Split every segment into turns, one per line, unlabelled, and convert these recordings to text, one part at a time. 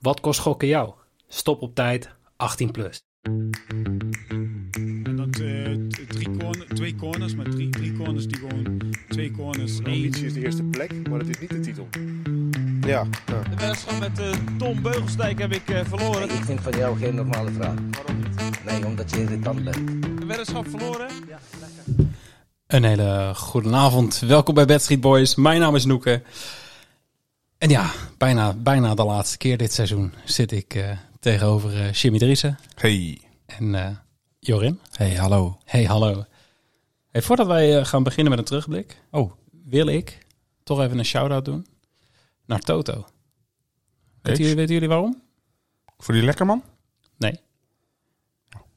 Wat kost gokken jou? Stop op tijd, 18 plus.
En dat eh, t- drie corner, twee corners, maar drie, drie corners die gewoon twee corners.
De
één.
ambitie is de eerste plek, maar het is niet de titel. Ja, ja.
De wedstrijd met eh, Tom Beugelsdijk heb ik eh, verloren.
Ik vind van jou geen normale vraag. Nee, omdat je irritant bent.
De weddenschap verloren.
Een hele goede avond. Welkom bij Bad Street Boys. Mijn naam is Noeke. En ja, bijna, bijna de laatste keer dit seizoen zit ik eh, tegenover eh, Jimmy Driessen
Hey.
en eh, Jorin.
Hey, hallo.
Hey, hallo. Hey, voordat wij eh, gaan beginnen met een terugblik,
Oh.
wil ik toch even een shout-out doen naar Toto. Weten jullie, weten jullie waarom?
Voor die lekkerman?
Nee.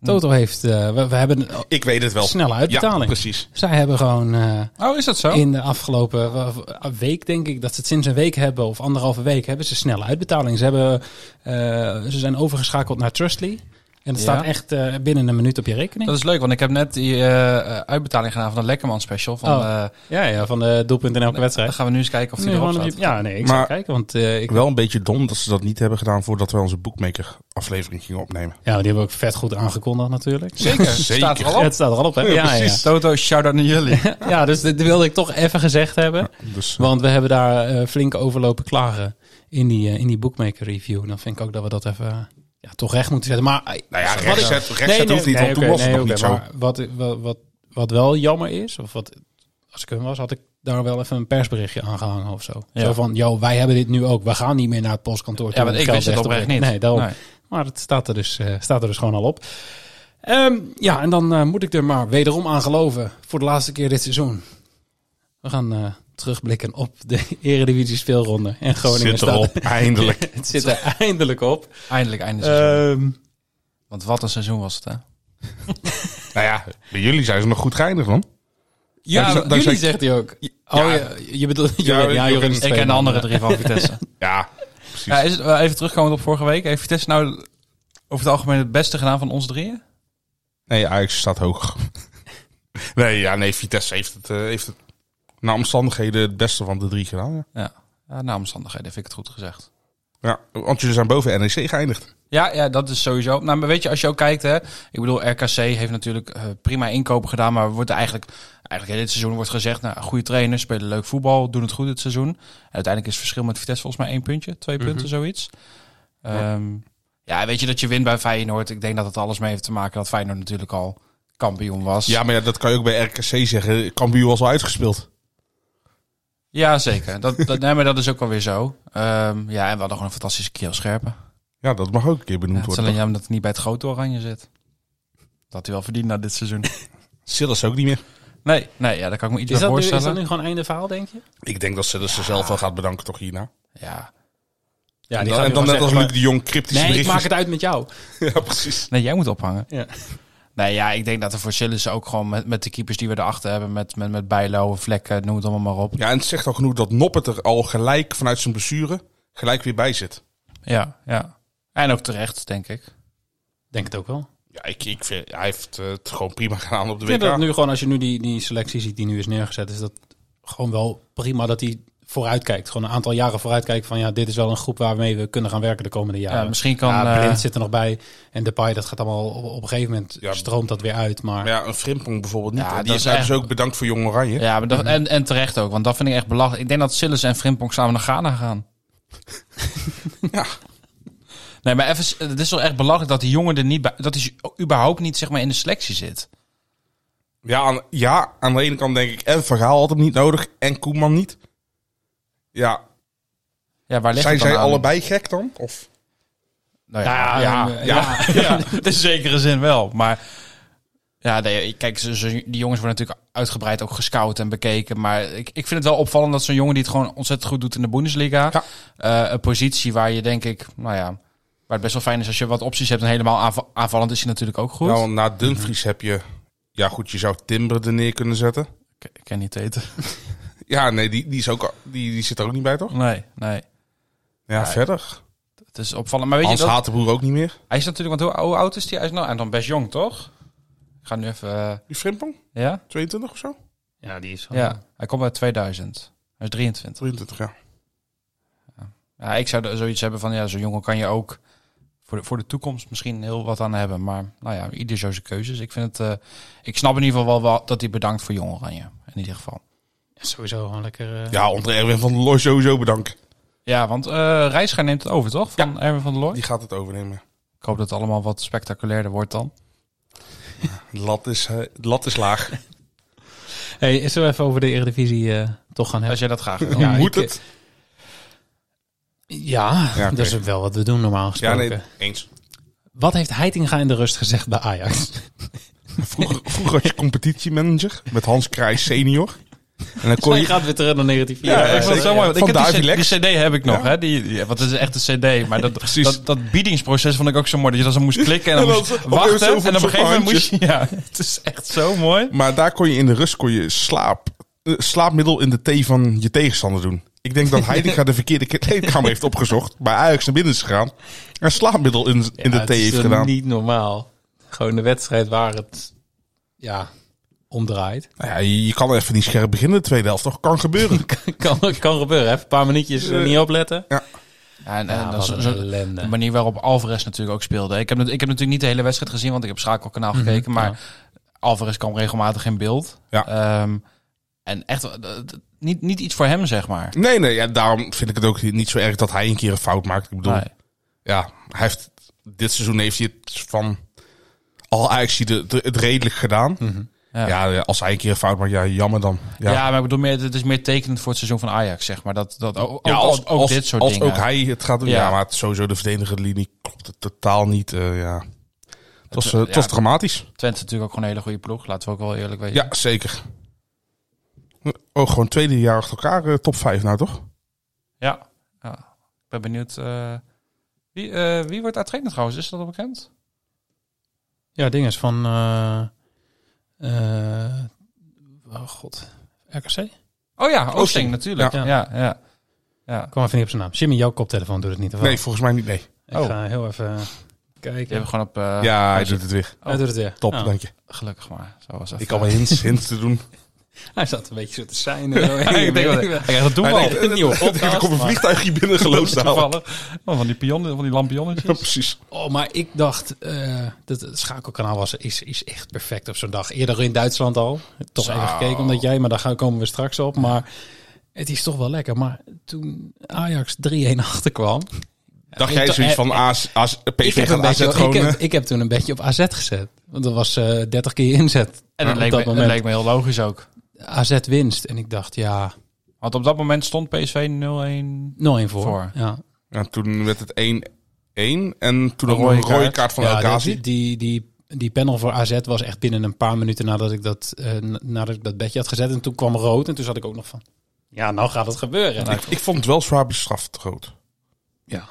Toto heeft, eh, we, we hebben een
Ik weet het Hm. wel.
snelle uitbetaling.
Ja, precies.
Zij hebben gewoon... eh,
Oh, is dat zo?
In de afgelopen eh, week, denk ik, dat ze het sinds een week hebben, of anderhalve week, hebben ze snelle uitbetaling. Ze, hebben, eh, ze zijn overgeschakeld naar Trustly. En dat
Ja.
staat echt eh, binnen een minuut op je rekening.
Dat is leuk, want ik heb net die eh, eh, uitbetaling gedaan van de Lekkerman special. Van,
Oh,
eh,
Ja, ja, van de doelpunt in elke
dan
wedstrijd.
gaan we nu eens kijken of die
Nee,
erop
gewoon
staat.
op je- ja, nee, ik zou
Maar-
kijken, want eh, ik,
Ik wel een beetje dom dat ze dat niet hebben gedaan voordat we onze bookmaker aflevering gingen opnemen.
ja, die hebben ook vet goed aangekondigd natuurlijk.
Zeker,
Zeker.
staat er al
Ja,
op.
het staat er al op, hè?
Ja,
Ja, ja,
precies.
Toto, shout-out naar jullie.
ja, dus dit wilde ik toch even gezegd hebben.
Dus
Want we hebben daar eh, flink over lopen klagen in die, eh, in die bookmaker review. En dan vind ik ook dat we dat even eh, ja, toch recht moeten zetten. Maar eh,
nou ja,
wat
rechts
ik-
het hoeft niet, want toen
oké,
was het nog
oké,
niet zo.
maar Wat, wat, wat, wat wel jammer is, of wat als ik hem was, had ik daar wel even een persberichtje aan gehangen of zo.
Ja.
Zo van, yo, wij hebben dit nu ook. We gaan niet meer naar het postkantoor.
Ja, want
om
ik
geld
wist het
weg te
oprecht
brengen.
niet.
Nee, daarom.
Nee.
Maar het staat er dus, eh, staat er dus gewoon al op. Ehm, ja, en dan eh, moet ik er maar wederom aan geloven voor de laatste keer dit seizoen. We gaan eh, terugblikken op de Eredivisie speelronde. En Groningen
Zit erop, eindelijk.
het zit er eindelijk op.
Eindelijk, einde seizoen.
Ehm,
Want wat een seizoen was het, hè?
nou ja, bij jullie zijn ze nog goed geëindigd, man.
Ja,
Dankzij-
jullie
dankzij-
zegt hij ook. Oh, je, je bedoelt... Ja, ja,
Jorin-
Jorin is
Ik en
tweede.
de andere drie van Vitesse.
Ja, precies.
ja, is het, eh, even terugkomend op vorige week. Heeft Vitesse nou over het algemeen het beste gedaan van ons drieën?
Nee, Ajax staat hoog. nee, ja, nee, Vitesse heeft het, eh, heeft het naar omstandigheden het beste van de drie gedaan. Ja,
Ja, na Eh, nou, omstandigheden vind ik het goed gezegd.
ja want jullie zijn boven NEC geëindigd.
Ja, ja, dat is sowieso. Nou, maar weet je, als je ook kijkt, hè, ik bedoel, RKC heeft natuurlijk eh, prima inkopen gedaan, maar wordt eigenlijk, eigenlijk in dit seizoen wordt gezegd, nou, goede trainers, spelen leuk voetbal, doen het goed dit seizoen. En uiteindelijk is het verschil met Vitesse volgens mij één puntje, twee
Mhm.
punten, zoiets. Ehm, ja, weet je dat je wint bij Feyenoord? Ik denk dat het alles mee heeft te maken dat Feyenoord natuurlijk al kampioen was.
Ja, maar ja, dat kan je ook bij RKC zeggen. Cambuur was al uitgespeeld.
ja zeker. Dat, dat, nee, maar dat is ook wel weer zo. Ehm, ja, en we hadden gewoon een fantastische Kiel Scherpen.
Ja, dat mag ook een keer
Ja,
benoemd
het is
worden.
alleen jammer dat hij niet bij het grote oranje zit. Dat had hij wel verdiend na dit seizoen.
Silas ook niet meer.
Nee, nee ja, daar kan ik me iets
Is
bij
dat, nu, is
voorstellen.
dat nu gewoon einde verhaal, denk je?
Ik denk dat Silas ze zelf wel gaat bedanken toch hierna.
Ja.
Ja,
en dan, en dan net als Luc de Jong cryptische
Nee, ik
berichtjes.
maak het uit met jou.
Ja, precies.
Nee, jij moet ophangen.
Ja.
Nee, ja, ik denk dat er voor Sillis ook gewoon met, met de keepers die we erachter hebben, met, met, met Bijlo, Vlekken, noem het allemaal maar op.
Ja, en het zegt al genoeg dat Noppet er al gelijk vanuit zijn blessure gelijk weer bij zit.
Ja, ja. En ook terecht, denk ik.
Denk het ook wel.
Ja, ik, ik vind, hij heeft eh, het gewoon prima gedaan op de
Ik vind dat
WK.
nu gewoon, als je nu die, die selectie ziet die nu is neergezet, is dat gewoon wel prima dat hij vooruitkijkt. Gewoon een aantal jaren vooruitkijken van ja, dit is wel een groep waarmee we kunnen gaan werken de komende
Ja,
jaren.
misschien kan...
ja,
eh,
Blind zit er nog bij en Depay, dat gaat allemaal op, op een gegeven moment
Ja.
stroomt dat weer uit. Maar
Maar ja, een Frimpong bijvoorbeeld niet.
Ja,
hè. die
dat
is
is echt-
dus ook bedankt voor Jong Oranje.
ja, maar dat, en, en terecht ook, want dat vind ik echt belachelijk. Ik denk dat Sillis en Frimpong samen naar Ghana gaan.
Ja.
Nee, maar even, het is toch echt belachelijk dat die jongen er niet bij, dat hij überhaupt niet zeg maar in de selectie zit.
Ja, aan, ja, aan de ene kant denk ik, en Vergaal had hem niet nodig, en Koeman niet. Ja,
Ja, waar ligt
zijn
het dan
zij
aan?
allebei gek dan? Of?
Nou ja,
Ja,
ja,
eh,
ja, ja, in zekere zin wel. Maar ja, nee, kijk, ze- ze- die jongens worden natuurlijk uitgebreid ook gescout en bekeken. Maar ik, ik vind het wel opvallend dat zo'n jongen die het gewoon ontzettend goed doet in de Bundesliga.
Ja.
eh, een positie waar je denk ik, nou ja, waar het best wel fijn is als je wat opties hebt en helemaal aanva- aanvallend is hij natuurlijk ook goed. Mhm.
Ja, want na Dumfries heb je... Ja goed, je zou Timber er neer kunnen zetten.
ik, ik ken niet eten.
Ja, nee, die, die, is ook, al- die, die zit er ook niet bij, toch?
Nee, nee.
Ja, verder.
Het is opvallend. Maar weet
Hans
je, dat,
Hatenbroer ook niet meer.
hij is natuurlijk, want hoe, hoe oud is hij? Hij is nou en dan best jong, toch? Ik ga nu even, eh,
Die Frimpong?
ja?
22 of zo?
ja, die is
Ja, hij komt uit 2000. Hij is 23.
23, ja.
Ja, Ja, ik zou er zoiets hebben van, ja, zo'n jongen kan je ook voor de, voor de toekomst misschien heel wat aan hebben. Maar nou ja, ieder zo zijn keuzes. Ik, vind het, eh, ik snap in ieder geval wel, wel dat hij bedankt voor Jong Oranje. In ieder geval.
Sowieso gewoon lekker. eh,
Ja, onder Erwin van der Looy sowieso bedankt.
Ja, want eh Reiziger neemt het over, toch? Van Erwin van der Looy.
Die gaat het overnemen.
Ik hoop dat het allemaal wat spectaculairder wordt dan.
De lat is, eh, de lat is laag.
Hey, is er even over de Eredivisie eh, toch gaan hebben?
Als jij dat graag wil.
Hoe
Ja,
moet
ik-
het?
Ja,
Ja, oké.
dat is wel wat we doen normaal
Ja,
gesproken.
nee, eens.
Wat heeft Heitinga in de rust gezegd bij Ajax?
Vroeger, vroeger had je competitiemanager met Hans Krijs senior. En dan kon
Hij
je...
gaat weer terug naar 19
Ja, ik vond het zo mooi, want ik heb die
die,
Davilex.
cd heb ik nog,
Ja.
hè? Die, die- want het is echt een cd. Maar dat,
Precies.
dat, dat biedingsproces vond ik ook zo mooi. Dat je dan zo moest klikken en dan
En dan
moest
zo- op
je
een gegeven moment
wachten.
zo op
En dan op een
zo'n
gegeven moment moest
handje.
je... Ja, het is echt zo mooi.
Maar daar kon je in de rust kon je slaap, eh, slaapmiddel in de thee van je tegenstander doen. Ik denk dat Heidegger de verkeerde kleedkamer heeft opgezocht. Bij Ajax naar binnen is gegaan. En slaapmiddel in, in de thee heeft gedaan.
niet normaal. Gewoon de wedstrijd waar het ja, omdraait.
Nou ja, je, je kan even niet scherp beginnen de tweede helft. Toch kan gebeuren.
kan, kan gebeuren, hè? Een paar minuutjes eh, niet opletten.
Ja, en, en
Ja,
dat
wat
is
een
zo-
ellende.
de manier waarop Alvarez natuurlijk ook speelde. Ik heb, nat- ik heb natuurlijk niet de hele wedstrijd gezien, want ik heb schakelkanaal
Mhm,
gekeken. Maar Alvarez kwam regelmatig in beeld.
Ja.
Ehm, en echt, wel- dat- dat- niet, niet iets voor hem, zeg maar.
Nee, nee. Ja, daarom vind ik het ook niet zo erg dat hij een keer een fout maakt. Ik bedoel,
Nee.
ja, hij heeft, dit seizoen heeft hij het van al Ajax het, het redelijk gedaan.
Ja.
Mhm. ja. als hij een keer een fout maakt, ja, jammer dan.
Ja. maar ik bedoel, meer, het is meer tekenend voor het seizoen van Ajax, zeg maar. Dat, dat, ook,
Ja,
ook-
als,
ook
als,
dit soort
als
dingen.
ook hij het gaat doen. Ja,
Ja.
maar het, sowieso de verdedigende linie klopt het totaal niet. eh, ja. Het was, eh, het
ja,
was
het-
dramatisch.
Twente is natuurlijk ook gewoon een hele goede ploeg, laten we ook wel eerlijk weten.
Ja, zeker. Oh, gewoon tweede jaar achter elkaar eh, top 5 nou, toch?
Ja. Ja. Ik ben benieuwd. eh, wie, eh, wie wordt daar trainer trouwens? Is dat al bekend?
Ja, ding is van... eh, eh, oh god, RKC?
Oh ja, Oosting,
Oosting.
natuurlijk.
Ja.
Ja, ja. ja. ja.
Ik kwam even niet op zijn naam. Jimmy, jouw koptelefoon doet het niet. of wel?
Nee, volgens mij niet. Nee.
Ik
oh.
ga heel even
Die
kijken.
hebben gewoon op... eh,
ja, hij
hij
doet het weer.
Hij doet het weer.
Top,
Oh.
dank je.
Gelukkig maar. Zo was
Ik kan wel hints, hints te doen.
Hij zat een beetje zo te zijn. en zo.
ik denk dat ik dat doen we
Hij
al.
denkt, eh, Er komt een vliegtuigje binnen geloosd halen.
Toevallig. Oh, van die pionnen, van die
Ja,
lampionnetjes.
precies.
Oh, maar ik dacht, eh, dat het schakelkanaal was, is, is echt perfect op zo'n dag. Eerder in Duitsland al. Toch even gekeken omdat jij, maar daar gaan, komen we straks op. Maar het is toch wel lekker. Maar toen Ajax 3-1 achterkwam.
Dacht jij zoiets van AS, AS,
eh, Ik
PV
heb, een
gaat AZ
beetje, ik,
gewoon...
heb,
eh,
ik heb toen een beetje op AZ gezet. Want dat was eh 30 keer inzet.
En dat
op
leek,
dat
me, dat
moment.
leek me heel logisch ook.
AZ winst. En ik dacht, ja, 0-1
Want op dat moment stond PSV 0-1.
voor.
Voor.
Ja,
Ja, toen werd het 1-1 en toen nog
Rode
een rode
kaart.
kaart van El
ja,
Ghazi.
die, die, die, die panel voor AZ was echt binnen een paar minuten nadat ik dat, eh, n- nadat ik dat bedje had gezet. En toen kwam rood en toen zat ik ook nog van, ja, nou gaat het gebeuren.
Ik, ik vond het wel zwaar bestraft rood.
ja.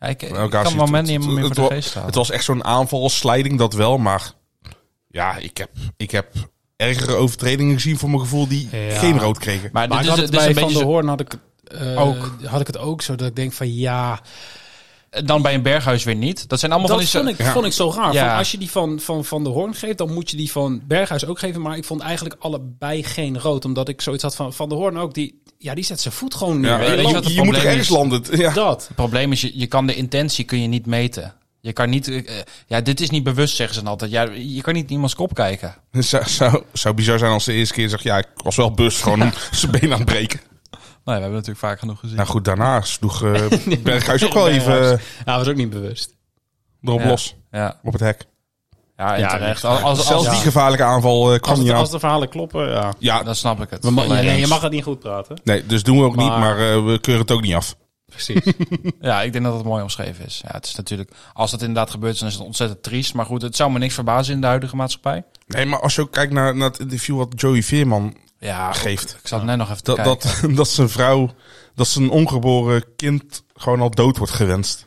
Ja, ik, ik
Elkaar
kan
ziet
het moment
het-
niet helemaal meer
het
voor de
wa-
geest staan.
Het was echt zo'n aanvalsleiding, dat wel. Maar ja, ik heb, ik heb ergere overtredingen gezien voor mijn gevoel die
Ja.
geen rood kregen.
Maar,
Maar
dit
ik had
is,
het
dit is
bij
een
Van
beetje
der
zo-
Hoorn had ik, eh,
Ook.
had ik het ook zo dat ik denk van ja,
dan bij een berghuis weer niet. Dat zijn allemaal
dat
van die...
vond
zo-
ik,
ja.
vond ik zo raar.
Ja.
Van, als je die van, van Van der Hoorn geeft, dan moet je die van Berghuis ook geven. Maar ik vond eigenlijk allebei geen rood, omdat ik zoiets had van Van der Hoorn ook. Die, ja, die zet zijn voet gewoon neer.
Ja,
weet je
eh,
wat
je
het
je moet
probleem
er ergens
is?
landen. Ja.
Dat.
Het probleem is, je, je kan de intentie kun je niet meten. Je kan niet, eh, eh, ja, dit is niet bewust, zeggen ze dan altijd. Ja, je kan niet in iemands kop kijken.
Dus Zou, zou, zou bizar zijn als ze de eerste keer zegt, ja, ik was wel bus gewoon om zijn been aan het breken.
Nee, we hebben natuurlijk vaak genoeg gezien.
Nou goed, daarna sloeg eh, Berghuis ook wel even eh,
Ja, was ook niet bewust.
erop
Ja.
los,
ja,
op het hek.
ja, en
Ja,
terecht. Als, als, als,
Zelfs die gevaarlijke aanval eh, kwam
Als,
niet
de-
aan.
als de verhalen kloppen, ja.
Ja,
dan snap ik het.
We ma-
Alleen-
nee, je mag het niet goed praten.
nee, dus doen we ook niet,
Maar-
maar eh, we keuren het ook niet af.
Precies.
Ja, ik denk dat het mooi omschreven is. Ja, het is natuurlijk, als dat inderdaad gebeurt, dan is het ontzettend triest. Maar goed, het zou me niks verbazen in de huidige maatschappij.
Nee, maar als je ook kijkt naar, naar het interview wat Joey Veerman
Ja,
geeft.
ik zat net nog even te
Dat,
kijken.
dat, dat zijn vrouw, dat zijn ongeboren kind gewoon al dood wordt gewenst.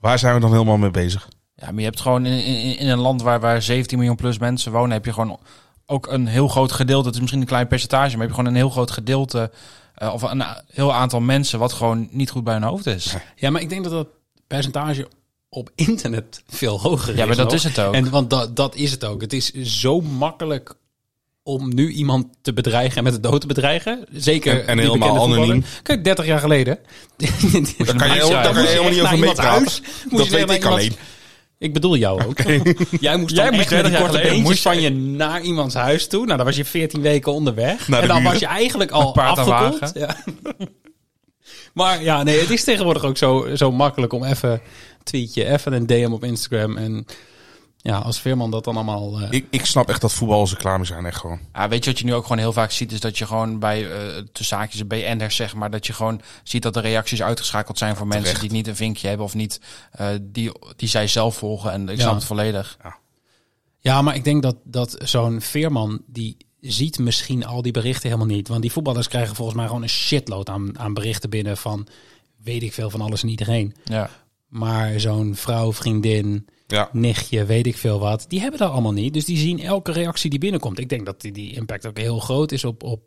Waar zijn we dan helemaal mee bezig?
Ja, maar je hebt gewoon in, in, in een land waar, waar 17 miljoen plus mensen wonen, heb je gewoon ook een heel groot gedeelte. Het is misschien een klein percentage, maar heb je gewoon een heel groot gedeelte. eh, of een a- heel aantal mensen wat gewoon niet goed bij hun hoofd is.
Ja, maar ik denk dat dat percentage op internet veel hoger is.
Ja, maar dat
nog.
is het ook.
En, want dat dat is het ook. Het is zo makkelijk om nu iemand te bedreigen en met de dood te bedreigen. Zeker
En- en
die
helemaal
bekende
anoniem.
voetballer. Kijk, 30 jaar geleden.
Daar kan je, heel- daar kan je helemaal niet over meepraten. Dat weet ik alleen.
Ik bedoel jou ook. Jij moest
Jij
dan
moest
echt met
30
die
jaar
korte
geleden
beentjes
moest je-
van je naar iemands huis toe. Nou, dan was je 14 weken onderweg.
Naar de
en dan
buren.
was je eigenlijk al
Met paard en
afgekoeld. Ja. maar ja, nee, het is tegenwoordig ook zo, zo makkelijk om even een tweetje, even een DM op Instagram. En ja, als Veerman dat dan allemaal... eh,
Ik, ik snap echt dat voetballers er klaar mee zijn, echt gewoon.
Ja, weet je wat je nu ook gewoon heel vaak ziet? Is dat je gewoon bij eh de zaakjes, BN'ers zeg maar, dat je gewoon ziet dat de reacties uitgeschakeld zijn voor mensen
Terecht.
die niet een vinkje hebben of niet, eh, die, die zij zelf volgen. En ik
Ja.
snap het volledig.
Ja, maar ik denk dat, dat zo'n Veerman, die ziet misschien al die berichten helemaal niet. Want die voetballers krijgen volgens mij gewoon een shitload aan, aan berichten binnen van weet ik veel van alles en iedereen.
Ja.
Maar zo'n vrouw, vriendin,
Ja.
nichtje, weet ik veel wat, die hebben dat allemaal niet. Dus die zien elke reactie die binnenkomt. Ik denk dat die, die impact ook heel groot is op, op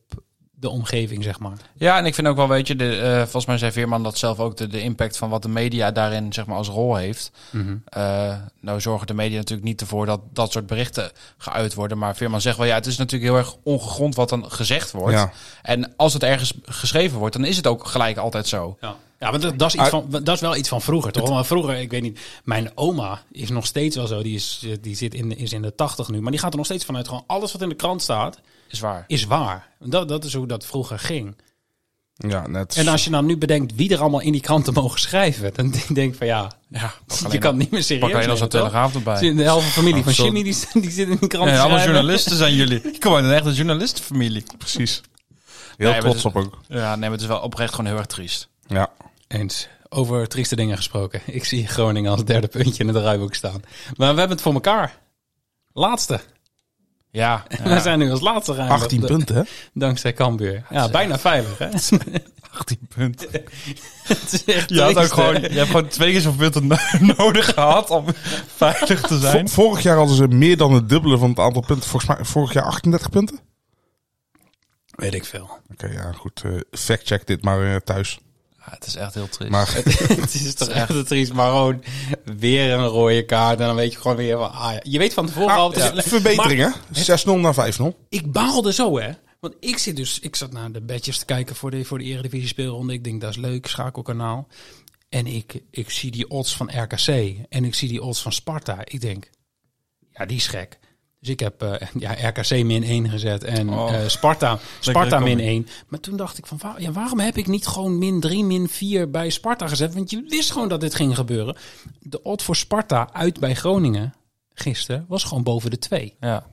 de omgeving, zeg maar.
ja, en ik vind ook wel, weet je, de, eh, volgens mij zei Veerman dat zelf ook, de, de impact van wat de media daarin zeg maar als rol heeft. Eh, nou zorgen de media natuurlijk niet ervoor dat dat soort berichten geuit worden. Maar Veerman zegt wel, ja, het is natuurlijk heel erg ongegrond wat dan gezegd wordt.
Ja.
En als het ergens geschreven wordt, dan is het ook gelijk altijd zo.
Ja, ja maar dat, dat, is iets van, dat is wel iets van vroeger, toch? Want vroeger, ik weet niet, mijn oma is nog steeds wel zo. Die, is, die zit in, is in de tachtig nu. Maar die gaat er nog steeds vanuit. Gewoon alles wat in de krant staat,
Is waar.
is waar. Dat, dat is hoe dat vroeger ging.
Ja, net.
En als je nou nu bedenkt wie er allemaal in die kranten mogen schrijven. Dan denk ik van ja,
Ja,
je kan het niet meer serieus
Pak alleen als een
nemen, toch?
telegraaf erbij.
De helft van de familie van
Zo.
Jimmy die, die zit in die krant te
allemaal
schrijven.
journalisten zijn jullie. Ik eh, kom uit een echte journalistenfamilie.
Precies. Heel
Nee, maar
trots
dat-
op ook.
Ja, nee, maar het is wel oprecht gewoon heel erg triest.
Ja.
Eens. Over trieste dingen gesproken. Ik zie Groningen als derde puntje in het draaiboek staan. Maar we hebben het voor elkaar. Laatste.
Ja,
We zijn nu als laatste geëindigd.
18 punten, hè?
Dankzij Cambuur. Ja, bijna veilig, hè?
18 punten.
Het is echt
Je, had ook
triest, hè?
gewoon, je hebt gewoon twee keer zoveel punten no- nodig gehad om veilig te zijn.
Vo- vorig jaar hadden ze meer dan het dubbele van het aantal punten. Volgens mij vorig jaar 38 punten. Oké,
Weet ik veel.
ja, goed. eh, Fact-check dit maar eh, thuis.
Ja, het is echt heel triest.
Maar
het is toch echt een triest, maar gewoon weer een rode kaart. En dan weet je gewoon weer van, ah ja. Je weet van tevoren al...
Ah,
het
v-
is-
verbetering, hè? 6-0 naar 5-0.
ik baalde zo, hè. Want ik zit dus, ik zat naar de badges te kijken voor de, voor de Eredivisie speelronde. Ik denk, dat is leuk, schakelkanaal. En ik, ik zie die odds van RKC en ik zie die odds van Sparta. Ik denk, ja, die is gek. Dus ik heb eh, ja, RKC min 1 gezet en
Oh.
eh, Sparta, Sparta
combi.
min 1. Maar toen dacht ik van, wa- ja, waarom heb ik niet gewoon min 3, min 4 bij Sparta gezet? Want je wist gewoon dat dit ging gebeuren. De odd voor Sparta uit bij Groningen gisteren was gewoon boven de 2.
ja.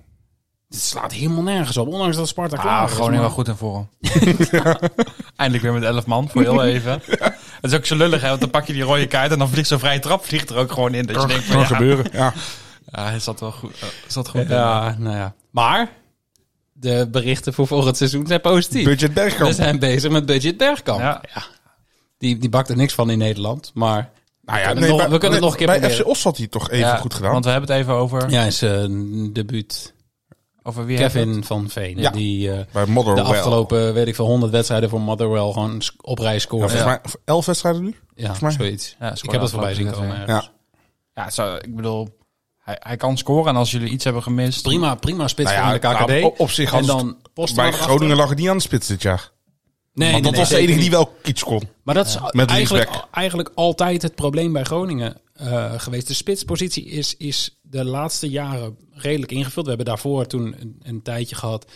Dit slaat helemaal nergens op, ondanks dat Sparta klaar
Ah,
is.
gewoon
maar-
heel goed in vorm. Eindelijk weer met 11 man voor heel even. Het is ook zo lullig, hè, want dan pak je die rode kaart en dan vliegt zo'n vrije trap vliegt er ook gewoon in. Dat je denkt, van,
Kan
ja,
gebeuren. Ja.
ja, hij zat wel goed. eh, zat goed in.
Ja, nou ja. Maar de berichten voor volgend seizoen zijn positief.
Budget Bergkamp.
We zijn bezig met budget Bergkamp.
Ja.
Die, die bakt er niks van in Nederland, maar
Nou ja,
kunnen nog- we kunnen het nog een keer
bij
proberen.
FC Os had hij toch even
Ja,
goed gedaan.
Want we hebben het even over,
ja, is eh, een debuut.
over wie hebben we
Kevin van Veen,
Ja.
die eh,
bij
de
Motherwell.
afgelopen, weet ik veel, 100 wedstrijden voor Motherwell gewoon s- op rij
Ja,
scoort.
volgens
Ja,
mij 11 wedstrijden nu. mij-
zoiets.
het? Ja,
Ik heb dat voorbij zien komen.
Ja,
ergens.
ja zo, ik bedoel, hij, hij kan scoren en als jullie iets hebben gemist...
Prima, prima spits
Nou ja,
van de KKD.
nou, op- op zich
en
hadden ze
dan Postma
Bij
erachter.
Groningen lag het niet aan de spits dit jaar.
Nee,
Want dat was de
zeker
enige
niet.
die wel iets kon.
Maar dat is
Met
eigenlijk,
linksback.
eigenlijk altijd het probleem bij Groningen eh, geweest. De spitspositie is, is de laatste jaren redelijk ingevuld. We hebben daarvoor toen een, een tijdje gehad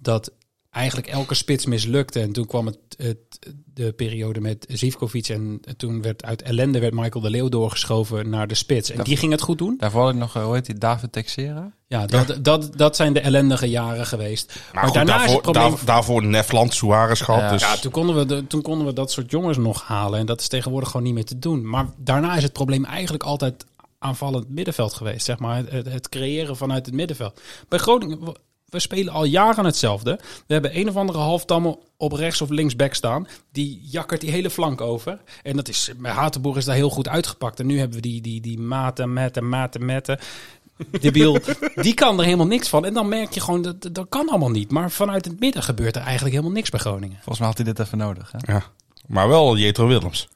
dat eigenlijk elke spits mislukte. En toen kwam het, het, de periode met Zivkovic. En toen werd uit ellende werd Michael de Leeuw doorgeschoven naar de spits. En die ging het goed doen.
Daarvoor had ik nog, eh, hoe heet die, David Texera?
Ja, dat, Dat, dat zijn de ellendige jaren geweest. Maar,
Maar, goed,
daarna is
daarvoor,
het probleem
daar- daarvoor Nefland, Suarez gehad.
Ja.
dus
ja, toen konden, we de- toen konden we dat soort jongens nog halen. En dat is tegenwoordig gewoon niet meer te doen. Maar daarna is het probleem eigenlijk altijd aanvallend middenveld geweest. Zeg maar. Het- het, het creëren vanuit het middenveld. Bij Groningen, we- we spelen al jaren hetzelfde. We hebben een of andere halftamme op rechts of linksback staan. Die jakkert die hele flank over. En dat is, bij Hatenboer is daar heel goed uitgepakt. En nu hebben we die, die, die maten, metten, maten, metten debiel. Die kan er helemaal niks van. En dan merk je gewoon, dat, dat kan allemaal niet. Maar vanuit het midden gebeurt er eigenlijk helemaal niks bij Groningen.
Volgens mij had hij dit even nodig, hè?
ja. Maar wel Jetro Willems.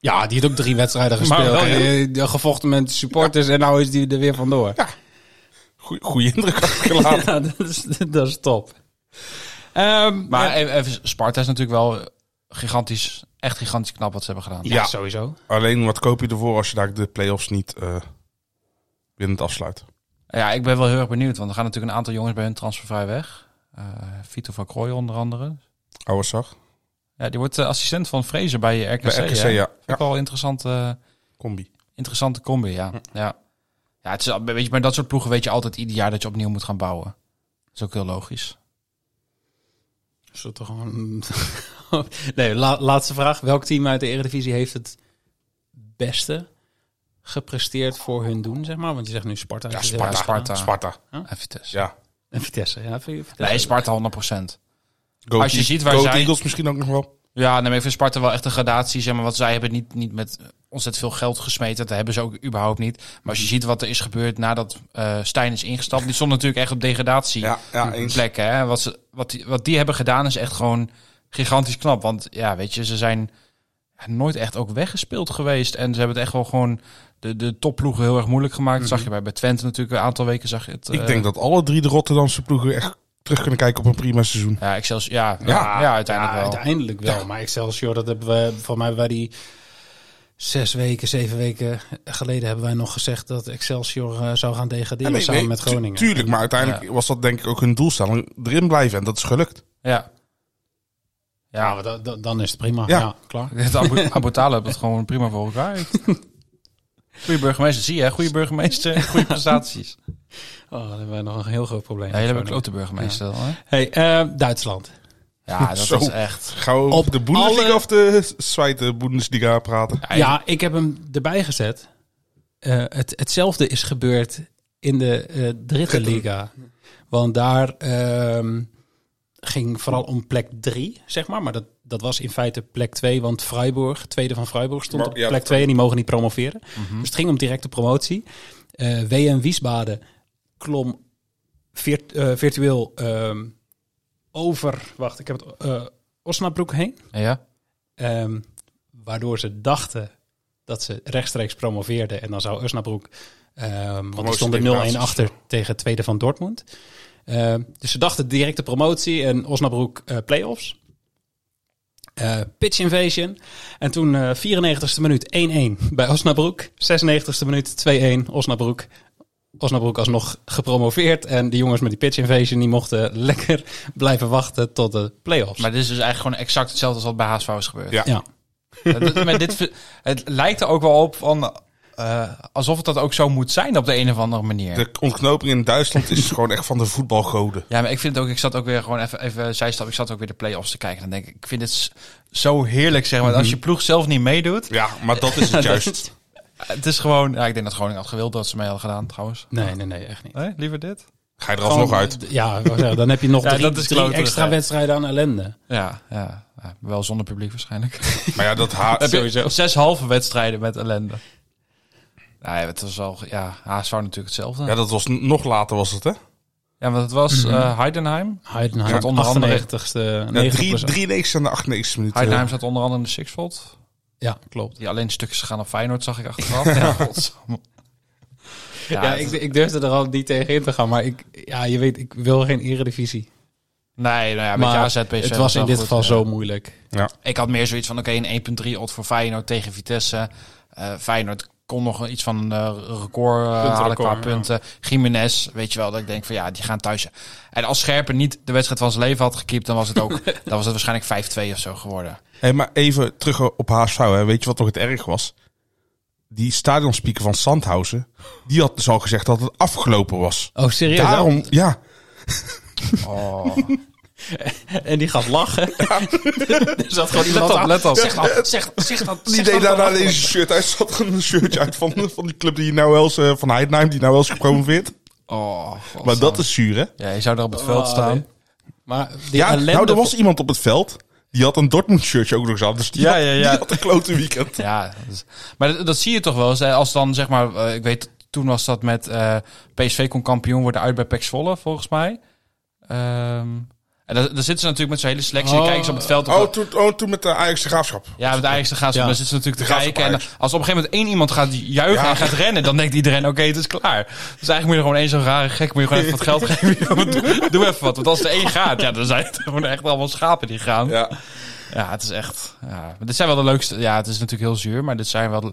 Ja, die heeft ook drie wedstrijden
Maar
gespeeld.
wel, ja.
En, eh, gevochten met supporters en nou is die er weer vandoor.
goeie, goeie indruk achtergelaten.
Ja, dat is, dat is top. Ehm,
Maar
ja,
even- even, Sparta is natuurlijk wel gigantisch, echt gigantisch knap wat ze hebben gedaan.
ja,
ja.
sowieso.
Alleen wat koop je ervoor als je daar de play-offs niet eh winnend afsluit?
Ja, ik ben wel heel erg benieuwd, want er gaan natuurlijk een aantal jongens bij hun transfervrij weg. Eh Vito van Krooij onder andere.
Ouwersag?
Ja, die wordt eh, assistent van Fraser bij eh, RKC.
Bij RKC,
hè?
ja.
Vind ik
Ja.
wel een interessante,
Combi.
interessante combi, ja.
Hm.
ja. Ja, het is, al- weet je, maar dat soort ploegen weet je altijd ieder jaar dat je opnieuw moet gaan bouwen. Dat is ook heel logisch.
Zullen we toch gewoon... nee, la- laatste vraag. Welk team uit de Eredivisie heeft het beste gepresteerd voor hun doen, zeg maar? Want je zegt nu Sparta.
Ja,
Dus, eh,
Sparta.
Sparta.
Sparta.
En Vitesse.
Ja.
En Vitesse, ja. vind je Vitesse?
Nee, Sparta 100%.
Go
Als je
Eagles-
ziet waar
Go
zij-
Eagles misschien ook nog wel.
Ja, dan heeft Sparta wel echt een gradatie. Zeg maar, want zij hebben niet, niet met ontzettend veel geld gesmeten. Dat hebben ze ook überhaupt niet. Maar als je ziet wat er is gebeurd nadat eh Stijn is ingestapt. Die stond natuurlijk echt op degradatie.
Ja, ja, eens.
plekken. Hè? Wat, ze, wat, die, wat die hebben gedaan is echt gewoon gigantisch knap. Want ja, weet je, ze zijn nooit echt ook weggespeeld geweest. En ze hebben het echt wel gewoon de, de topploegen heel erg moeilijk gemaakt. Dat zag je bij, bij Twente natuurlijk een aantal weken. Zag je het, eh,
Ik denk dat alle drie de Rotterdamse ploegen echt terug kunnen kijken op een prima seizoen.
Ja, Excels, ja, ja,
Ja.
ja, uiteindelijk
Ja,
wel.
uiteindelijk wel. Maar Excelsior, dat hebben we... Volgens mij hebben wij die zes weken, zeven weken geleden... hebben wij nog gezegd dat Excelsior eh, zou gaan degraderen
Nee,
samen
nee,
met
tu-
Groningen.
tuurlijk, maar uiteindelijk was dat denk ik ook hun doelstelling. Erin blijven en dat is gelukt.
Ja.
Ja,
Ja,
maar da- da- dan is het prima. Ja,
Ja.
klaar.
Het Abu- Abu Talib heeft het gewoon prima voor elkaar. Goede burgemeester, zie je, hè? goede burgemeester, goede prestaties.
Oh, dan hebben wij nog een heel groot probleem.
Ja, hele hebben klote burgemeester. dan, hè?
Hey, eh, Duitsland.
Ja, dat
Zo.
is echt.
Gaan we
Op
op de Bundesliga
alle-
of de Zweite Bundesliga praten?
Ja,
Ja, ik heb hem erbij gezet. Eh, het, hetzelfde is gebeurd in de eh dritte liga. Want daar ehm, ging vooral om plek drie, zeg maar. Maar dat, dat was in feite plek twee, want Freiburg, tweede van Freiburg, stond
Maar-
op
ja,
plek
dat-
twee en die mogen niet promoveren.
Mhm.
Dus het ging om directe promotie. Eh WM Wiesbaden klom virt- eh, virtueel ehm, over, wacht, ik heb het, eh Osnabroek heen.
Ja.
Ehm, waardoor ze dachten dat ze rechtstreeks promoveerden. En dan zou Usnabroek, ehm want die stonden 0-1 achter tegen tweede van Dortmund. Ehm, dus ze dachten directe promotie en Osnabroek eh play-offs. Eh, pitch invasion. En toen eh 94ste minuut 1-1 bij Osnabroek. 96ste minuut 2-1 Osnabroek. Osnabroek alsnog gepromoveerd. En die jongens met die pitch invasion die mochten lekker blijven wachten tot de play-offs.
Maar dit is dus eigenlijk gewoon exact hetzelfde als wat bij HSV is gebeurd.
Ja.
ja.
Het, maar dit, ver- het lijkt er ook wel op van, eh, alsof het dat ook zo moet zijn op de een of andere manier.
De ontknoping in Duitsland is gewoon echt van de voetbalgoden.
Ja, maar ik vind ook, ik zat ook weer gewoon even, even zijstap, ik zat ook weer de play-offs te kijken. Dan denk ik, ik vind het s- zo heerlijk, zeg maar. Als je ploeg zelf niet meedoet,
Ja, maar dat is het juist.
het is gewoon, ja, ik denk dat Groningen had gewild dat ze mee hadden gedaan, trouwens.
Nee, nee, nee, echt niet.
Nee, liever dit?
Ga je er alsnog
Gewoon,
uit.
d- Ja, ik wou zeggen, dan heb je nog
Ja,
drie,
dat is
drie
kloterig,
extra
hè.
wedstrijden aan ellende.
Ja, ja, ja, wel zonder publiek waarschijnlijk.
Maar ja, dat ha
Heb je zes halve wedstrijden met ellende. Nee, het was al, ja, HSV natuurlijk hetzelfde.
ja,
Ja,
dat was n- nog later was het, hè?
want het was
Mhm.
eh, Heidenheim.
Heidenheim,
Ja, onder andere-
98ste, 90
Ja, drie-
plus-
93 en de eh. 98 minuten.
Heidenheim zat onder andere in de Sixfold.
Ja, klopt.
Die alleen stukjes gaan op Feyenoord, zag ik achteraf. ja, godsamme.
Ja,
Ja, het-
ik, ik durfde er al niet tegen in te gaan, maar ik, ja, je weet, ik wil geen eredivisie.
Nee, nou ja, met
maar
je AZ, PSV
het was in
wel
dit
goed,
geval
ja.
zo moeilijk.
Ik had meer zoiets van, oké, een 1.3 odd voor Feyenoord tegen Vitesse. Eh, Feyenoord kon nog iets van een record eh, halen qua punten. Jiménez, weet je wel, dat ik denk van ja, die gaan thuis. En als Scherpen niet de wedstrijd van zijn leven had gekiept, dan was het ook, dan was het waarschijnlijk 5-2 of zo geworden.
Hey, maar even terug op HSV. Hè. Weet je wat nog het erg was? Die stadionspeaker van Sandhausen, die had dus al gezegd dat het afgelopen was.
Oh, serieus?
Daarom, ja,
Oh.
En die gaat lachen. er zat gewoon iemand
Let op,
aan.
let op.
Zeg eh, dat, zeg, zeg dat.
die
zeg
deed
dat
daar
dan.
alleen een shirt uit. Zat een shirtje uit van, van die club die nou wel eens, eh, van Heidenheim, die nou wel eens gepromoveerd.
Oh,
Maar dat is zuur, hè?
Ja, je zou er op het veld
Oh,
staan.
nee. Maar die
Ja,
ellende...
nou, er was iemand op het veld. Die had een Dortmund shirtje ook nog eens aan. Dus die,
Ja,
had,
ja, ja.
die had een klote weekend.
Ja, dat is- maar dat, dat zie je toch wel eens. hè, Als dan zeg maar, eh, ik weet, toen was dat met eh, PSV kon kampioen worden uit bij Pek Zwolle, volgens mij. Ehm, En daar, daar zitten ze natuurlijk met zo'n hele selectie. Die
Oh.
kijken ze op het veld. Op
Oh, toen, oh, toen met de Ajax de graafschap.
ja, met de Ajax dan gaan ze.
Ja.
Dan zitten ze natuurlijk te
Gaat ze op
kijken. En als
Ajax.
op een gegeven moment één iemand gaat juichen
Ja.
en gaat rennen, dan denkt iedereen: oké, het is klaar. Dus eigenlijk moet je er gewoon één zo'n rare gek. Moet je gewoon even wat geld geven. Ja, maar doe, doe even wat. Want als er één gaat, ja, dan zijn het gewoon echt allemaal schapen die gaan. Ja,
Ja.
het is echt. Ja. Maar Dit zijn wel de leukste. Ja, het is natuurlijk heel zuur, maar dit zijn wel de,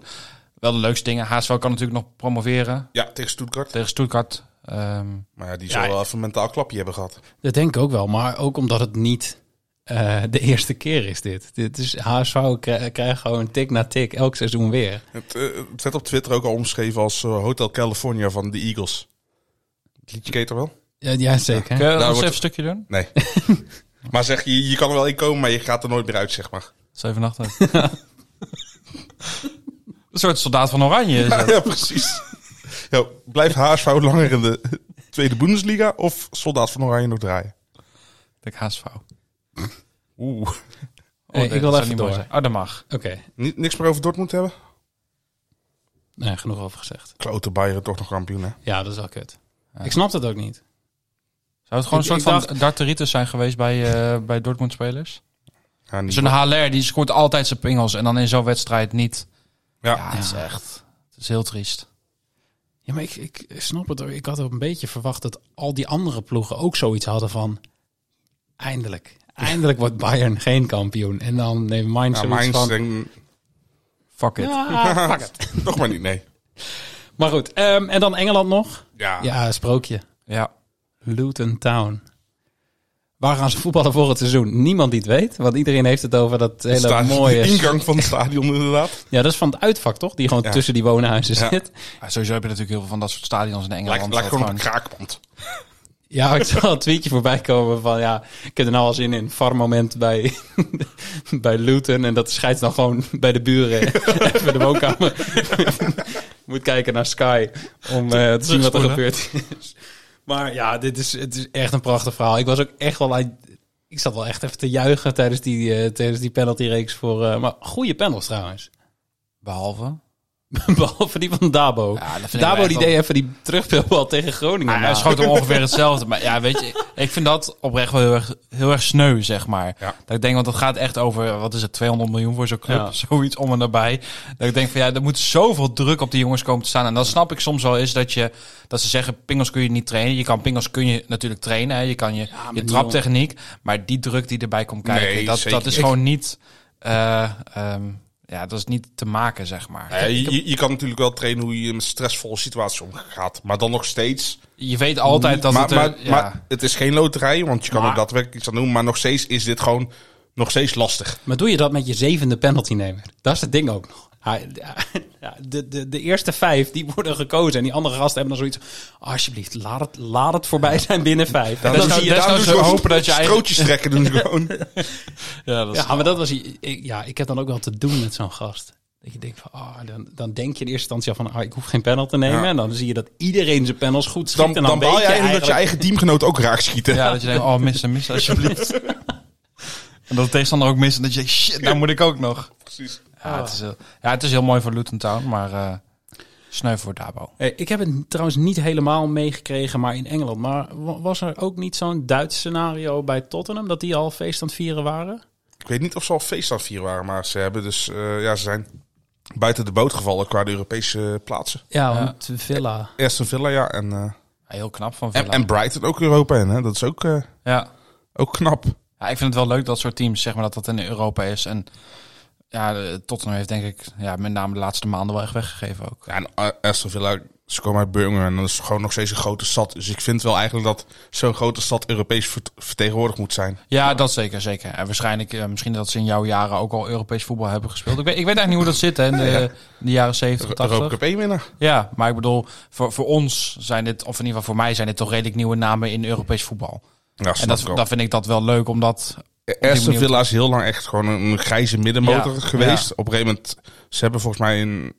wel de leukste dingen. HSV kan natuurlijk nog promoveren
Ja, tegen Stuttgart.
tegen Stuttgart. Ehm,
Maar ja, die zal wel even een mentaal klapje hebben gehad.
Dat denk ik ook wel, maar ook omdat het niet eh, de eerste keer is dit. Dit is HSV kri- krijgt gewoon tik na tik elk seizoen weer.
Het, eh, het werd op Twitter ook al omschreven als eh, Hotel California van de Eagles. Het liedje keet er wel?
Ja, ja zeker.
Kun je ons
wordt-
even een stukje doen?
Nee. maar zeg, je, je kan er wel in komen, maar je gaat er nooit meer uit, zeg maar.
Zeven nachten. een soort soldaat van Oranje. is
Ja,
dat.
ja, precies. Ja, blijft HSV langer in de Tweede Bundesliga of Soldaat van Oranje nog draaien?
Ik haast fout.
Oeh.
Hey, Eh, ik wil even door.
Oh, dat mag.
Oké,
Ni- niks meer over Dortmund hebben?
nee, genoeg over gezegd.
Klote Bayern toch nog kampioen, hè?
Ja, dat is wel kut. Ik snap dat ook niet.
Zou het gewoon
Ik-
een
ik
soort van
dacht-
darteritis zijn geweest bij, eh, bij Dortmund-spelers?
Ja, niet
Zo'n HLR, die scoort altijd zijn pingels. En dan in zo'n wedstrijd niet.
Ja.
Ja,
Ah.
het is echt... Het is heel triest.
Ja, maar ik, ik snap het. ook. Ik had ook een beetje verwacht dat al die andere ploegen ook zoiets hadden van... Eindelijk. Eindelijk wordt Bayern geen kampioen. En dan neemt Mainz
Ja,
zoiets
Mainz eh,
van...
denk-
Fuck it.
"Ah, fuck it."
toch maar niet, nee.
Maar goed, ehm, en dan Engeland nog.
Ja,
Ja, sprookje.
Ja.
Luton Town. Waar gaan ze voetballen voor het seizoen? Niemand die het weet, want iedereen heeft het over dat hele
het staat-
mooie...
de ingang van het stadion inderdaad.
Ja, dat is van het uitvak, toch? Die gewoon
Ja.
tussen die woonhuizen
Ja.
zit.
Ah, sowieso heb je natuurlijk heel veel van dat soort stadions in Engeland.
Lijkt,
dat
lijkt gewoon op een
gewoon-
kraakband.
Ja, ik zag een tweetje voorbij komen van ja, ik heb er nou al zin in een VAR-moment bij, bij Luton. En dat scheidt dan gewoon bij de buren even de woonkamer. Moet kijken naar Sky om eh, te zien wat er
terugspoelen.
gebeurd is. Maar ja, dit is, het is echt een prachtig verhaal. Ik was ook echt wel aan- ik zat wel echt even te juichen tijdens die, eh, tijdens die penaltyreeks voor... eh, maar goede panels trouwens.
Behalve...
Behalve die van Dabo.
Ja, dat vind ik wel
Dabo
echt
die
wel-
deed even die terugpeelbal tegen Groningen.
Ja,
na.
hij schoot hem ongeveer hetzelfde. Maar ja, weet je, ik vind dat oprecht wel heel erg, heel erg sneu, zeg maar.
Ja.
Dat ik denk, want dat gaat echt over, wat is het, 200 miljoen voor zo'n club?
Ja.
Zoiets om en nabij. Dat ik denk van, ja, er moet zoveel druk op die jongens komen te staan. En dat snap ik soms wel is dat, je, dat ze zeggen, pingels kun je niet trainen. Je kan pingels kun je natuurlijk trainen. Hè. Je kan je, je
niet
traptechniek. Maar die druk die erbij komt kijken,
Nee,
dat,
zeker
dat is
niet.
gewoon niet... eh, ehm, ja, dat is niet te maken, zeg maar.
Ja, je, je- je kan natuurlijk wel trainen hoe je met stressvolle situaties omgaat. Maar dan nog steeds.
Je weet altijd dat
maar,
het... er-
maar,
ja.
maar het is geen loterij, want je kan
Maar-
er daadwerkelijk iets aan doen. Maar nog steeds is dit gewoon nog steeds lastig.
Maar doe je dat met je zevende penaltynemer? Dat is het ding ook nog. Hij- ja, de, de, de eerste vijf die worden gekozen. En die andere gasten hebben dan zoiets. "Ah, Alsjeblieft, laat het, laat het voorbij zijn binnen vijf. En dan
is-
zie je
dat
Daarom
is-
doen
nou
ze
zo
dus gewoon
hopen dat je eigen-
Strootjes trekken doen ze gewoon.
ja, dat is-
Ja, maar dat was. ik- Ja, ik heb dan ook wel te doen met zo'n gast. Dat je denkt van, ah, dan, dan denk je in eerste instantie al van, ah, ik hoef geen panel te nemen.
Ja.
En dan zie je dat iedereen zijn panels goed schiet. en
Dan, dan,
dan,
baal
weet
je
je
eigenlijk dat je eigen teamgenoot ook raak schieten.
Ja, dat je denkt, oh, missen, missen, alsjeblieft. en dat de tegenstander ook mist en dat je denkt, shit, nou moet ik ook nog.
precies.
Ja, het is heel, ja, het is heel mooi voor Luton Town, maar eh sneu voor Dabo.
Hey, Eh, ik heb het trouwens niet helemaal meegekregen, maar in Engeland. Maar wa- was er ook niet zo'n Duits scenario bij Tottenham dat die al feest aan het vieren waren?
Ik weet niet of ze al feest aan het vieren waren, maar ze hebben dus. eh, ja, ze zijn buiten de boot gevallen qua de Europese plaatsen.
Ja, want Villa.
Aston Villa, ja. En, eh,
Heel knap van Villa.
en, en Brighton ook Europa in, hè? Dat is ook, eh,
ja.
ook knap.
ja, ik vind het wel leuk dat soort teams, zeg maar, dat dat in Europa is. En ja, eh, Tottenham heeft denk ik, ja, met name de laatste maanden wel echt weggegeven ook.
Ja, en A- Aston Villa, ze komen uit Birmingham en dat is gewoon nog steeds een grote stad. Dus ik vind wel eigenlijk dat zo'n grote stad Europees vert- vertegenwoordigd moet zijn.
Ja, dat zeker, zeker. En waarschijnlijk, eh, misschien dat ze in jouw jaren ook al Europees voetbal hebben gespeeld. Ik weet, ik weet eigenlijk niet hoe dat zit, hè, in de, in de jaren 70, 80.
Europa Cup 1 winnaar.
Ja, maar ik bedoel, voor, voor ons zijn dit, of in ieder geval voor mij, zijn dit toch redelijk nieuwe namen in Europees voetbal.
Ja,
en dat,
dat,
dat vind ik dat wel leuk, omdat.
Aston
manier-
Villa is heel lang echt gewoon een grijze middenmotor
Ja,
geweest.
ja.
Op een gegeven moment, ze hebben volgens mij een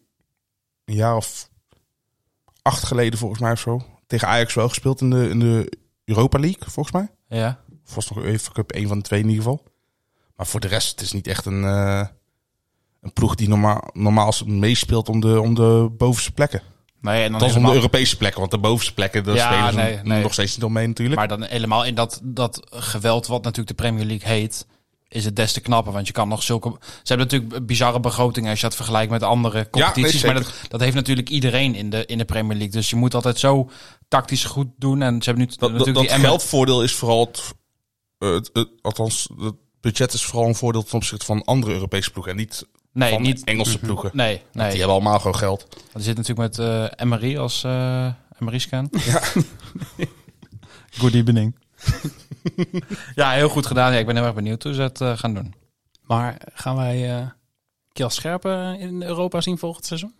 een jaar of acht geleden volgens mij of zo, tegen Ajax wel gespeeld in de, in de Europa League, volgens mij.
Ja,
Of was het nog UEFA Cup 1 van de twee in ieder geval. Maar voor de rest, het is niet echt een, eh, een ploeg die normaal, normaal meespeelt om de, om de bovenste plekken.
Nee, en dan
Dat is om de
helemaal-
Europese plekken, want de bovenste plekken, daar
Ja,
spelen ze
nee, nee.
nog steeds niet omheen natuurlijk.
Maar dan helemaal in dat, dat geweld wat natuurlijk de Premier League heet, is het des te knapper. Want je kan nog zulke... Ze hebben natuurlijk bizarre begrotingen als je dat vergelijkt met andere competities.
nee,
maar dat, dat heeft natuurlijk iedereen in de, in de Premier League. Dus je moet altijd zo tactisch goed doen. En ze hebben nu
dat
t-
dat,
natuurlijk
dat
die Emirates-
geldvoordeel is vooral, het, eh, het- het- althans, het budget is vooral een voordeel ten opzichte van andere Europese ploegen. En niet
Nee,
van
niet...
Engelse ploegen.
Nee, nee.
Die hebben allemaal gewoon geld.
Want Er zit natuurlijk met eh Emery als eh Emery-scan.
Good evening.
ja, heel goed gedaan. Ja, ik ben heel erg benieuwd hoe ze het eh, gaan doen.
Maar gaan wij eh Kjell Scherpen in Europa zien volgend seizoen?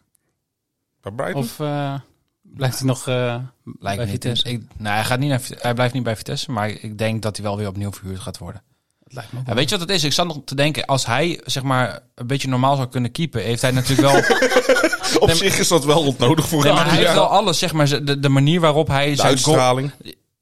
Bij Brighton?
Of eh, blijft hij nog eh, bij
Lijkt me niet.
Vitesse?
Ik, nou, hij, gaat niet naar, Vit- hij blijft niet bij Vitesse, maar ik denk dat hij wel weer opnieuw verhuurd gaat worden.
Het lijkt me ook
Ja,
wel.
weet je wat het is? Ik zat nog te denken, als hij zeg maar een beetje normaal zou kunnen keepen, heeft hij natuurlijk wel.
Op zich is dat wel ontnodig voor
Nee,
hem.
maar hij
Ja.
heeft wel alles, zeg maar. De, de manier waarop hij
De
zijn goal.
uitstraling.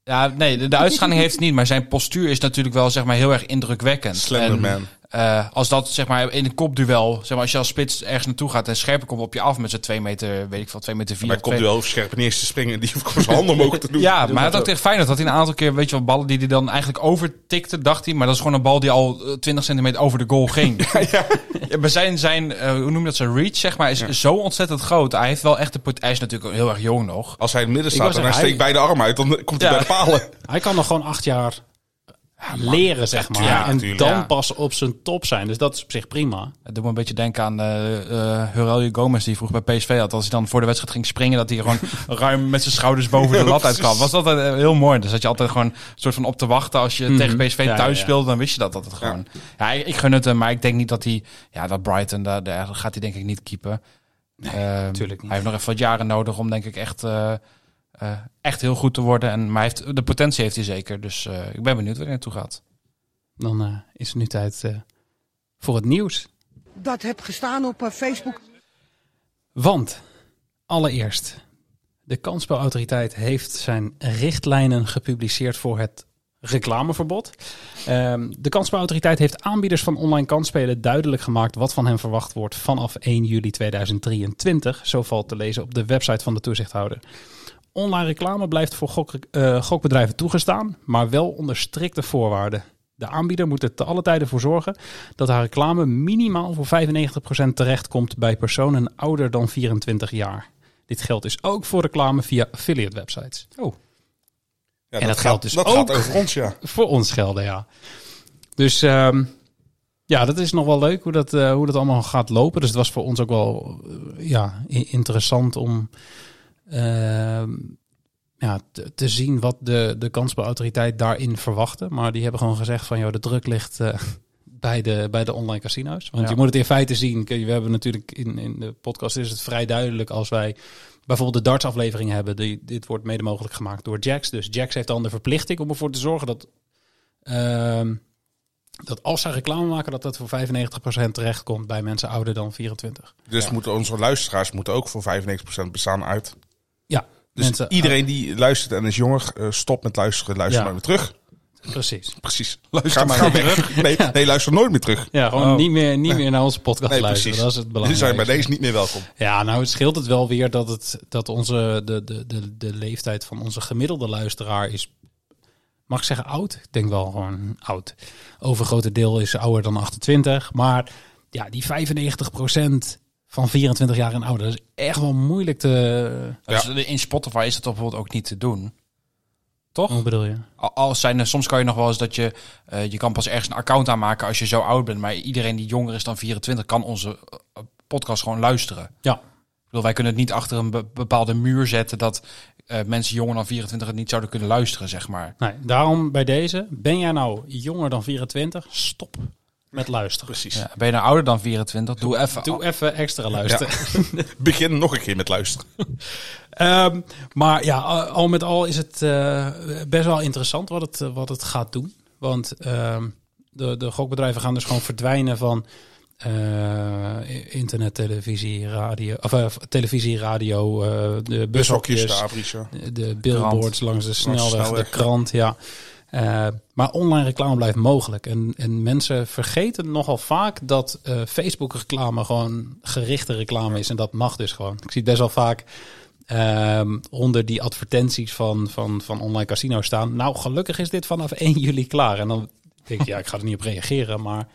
Ja, nee, de, de uitstraling heeft het niet, maar zijn postuur is natuurlijk wel zeg maar heel erg indrukwekkend. En,
Slenderman.
eh, als dat zeg maar in een kopduel, zeg maar als je als spits ergens naartoe gaat en scherper komt op je af met zijn 2 meter, weet ik veel, 2 meter 4.
Bij komt wel over scherp en eerst te springen. Die hoeft gewoon zijn handen omhoog te doen.
Ja, maar hij had ook tegen Feyenoord had hij een aantal keer, weet je wel, ballen die hij dan eigenlijk overtikte, dacht hij. Maar dat is gewoon een bal die al eh, 20 centimeter over de goal ging. ja, maar zijn, zijn eh, hoe noem je dat, zijn reach, zeg maar, is zo ontzettend groot. Hij heeft wel echt de pot- Hij is natuurlijk ook heel erg jong nog.
Als hij in het midden
Ik wou
staat en hij
zeggen,
steekt beide armen uit, dan komt hij
Ja.
bij de palen.
Hij kan nog gewoon acht jaar eh, leren, zeg maar.
tuurlijk,
en
tuurlijk.
dan
Ja.
pas op zijn top zijn. Dus dat is op zich prima.
Het doet me een beetje denken aan eh eh Aurelio Gomez, die vroeg bij PSV had. Als hij dan voor de wedstrijd ging springen, dat hij gewoon ruim met zijn schouders boven de lat uitkwam. Was dat eh, heel mooi. Dus dat je altijd gewoon een soort van op te wachten. Als je tegen PSV
Mhm. Ja,
thuis
ja, ja.
speelde, dan wist je dat altijd gewoon. Ja, ik, ik gun het hem, maar ik denk niet dat hij... Ja, dat Brighton, daar, daar gaat hij denk ik niet keepen. Ehm,
tuurlijk niet.
Hij heeft nog even wat jaren nodig om denk ik echt, eh, eh, echt heel goed te worden. En, maar hij heeft, de potentie heeft hij zeker. Dus eh, ik ben benieuwd waar hij naartoe gaat.
Dan eh, is het nu tijd eh, voor het nieuws.
dat heb gestaan op eh, Facebook.
Want allereerst, de kansspelautoriteit heeft zijn richtlijnen gepubliceerd voor het reclameverbod. Ehm, de kansspelautoriteit heeft aanbieders van online kansspelen duidelijk gemaakt wat van hen verwacht wordt vanaf 1 juli 2023. Zo valt te lezen op de website van de toezichthouder. Online reclame blijft voor gok- eh, gokbedrijven toegestaan, maar wel onder strikte voorwaarden. De aanbieder moet er te alle tijden voor zorgen dat haar reclame minimaal voor 95% terechtkomt bij personen ouder dan 24 jaar. Dit geldt dus ook voor reclame via affiliate websites. Oh.
Ja,
dat
gaat-
geldt dus
dat
ook.
gaat over ons, ja.
Voor ons gelden, ja. Dus ehm, ja, dat is nog wel leuk hoe dat, eh, hoe dat allemaal gaat lopen. Dus het was voor ons ook wel eh, ja, i- interessant om ehm, ja, te, te zien wat de, de kansbeautoriteit daarin verwachtte. Maar die hebben gewoon gezegd van, joh, de druk ligt... eh, bij de, bij de online casino's. Want
Ja.
je moet het in feite zien. Kijk, We hebben natuurlijk in, in de podcast is het vrij duidelijk als wij bijvoorbeeld de dartsaflevering hebben. Die, dit wordt mede mogelijk gemaakt door Jax. Dus Jax heeft dan de verplichting om ervoor te zorgen dat, ehm, dat als zij reclame maken, dat dat voor 95% terechtkomt bij mensen ouder dan 24.
Dus moeten onze luisteraars moeten ook voor 95% bestaan uit.
Ja,
Dus
mensen, eh,
iedereen die luistert en is jonger, eh, stop met luisteren. Luister
Ja.
maar weer terug.
precies.
Precies. Luister ga, maar ga weg. Nee, nee, luister nooit meer terug.
Ja, gewoon niet, meer, niet meer naar onze podcast
Oh. Nee,
luisteren.
precies.
Dat is het
Die
belangrijkste.
zijn bij deze niet meer welkom.
Ja, nou het scheelt het wel weer dat, het, dat onze, de, de, de, de leeftijd van onze gemiddelde luisteraar is, mag ik zeggen oud? Ik denk wel gewoon oud. Overgrote deel is ouder dan 28, maar ja, die 95% van 24 jaar en ouder, dat is echt wel moeilijk te...
Dus in Spotify is dat toch bijvoorbeeld ook niet te doen. Toch?
Hoe bedoel je?
Al- Als zijn, er- soms kan je nog wel eens dat je, eh, je kan pas ergens een account aanmaken als je zo oud bent. Maar iedereen die jonger is dan 24 kan onze eh, podcast gewoon luisteren. Ik
Ja,
bedoel, wij kunnen het niet achter een be- bepaalde muur zetten dat eh, mensen jonger dan 24 het niet zouden kunnen luisteren, zeg maar.
nee, daarom bij deze, ben jij nou jonger dan 24, stop met luisteren.
Precies.
Ja, ben je nou ouder dan 24? Doe even.
Doe even extra luisteren.
Begin nog een keer met luisteren.
Ehm, maar ja, al- al met al is het eh, best wel interessant wat het, eh, wat het gaat doen. Want ehm, de, de gokbedrijven gaan dus gewoon verdwijnen van eh, internet, televisie, radio, of, eh, televisie, radio, eh, de
Bushokjes,
bushokjes,
de Avries, ja.
de billboards langs de snelweg,
snelweg.
de krant, ja. Eh, maar online reclame blijft mogelijk. En, en mensen vergeten nogal vaak dat eh, Facebook reclame gewoon gerichte reclame is. En dat mag dus gewoon. Ik zie het best wel vaak ehm, onder die advertenties van, van, van online casino's staan. Nou, gelukkig is dit vanaf 1 juli klaar. En dan denk je, ja, ik ga er niet op reageren, maar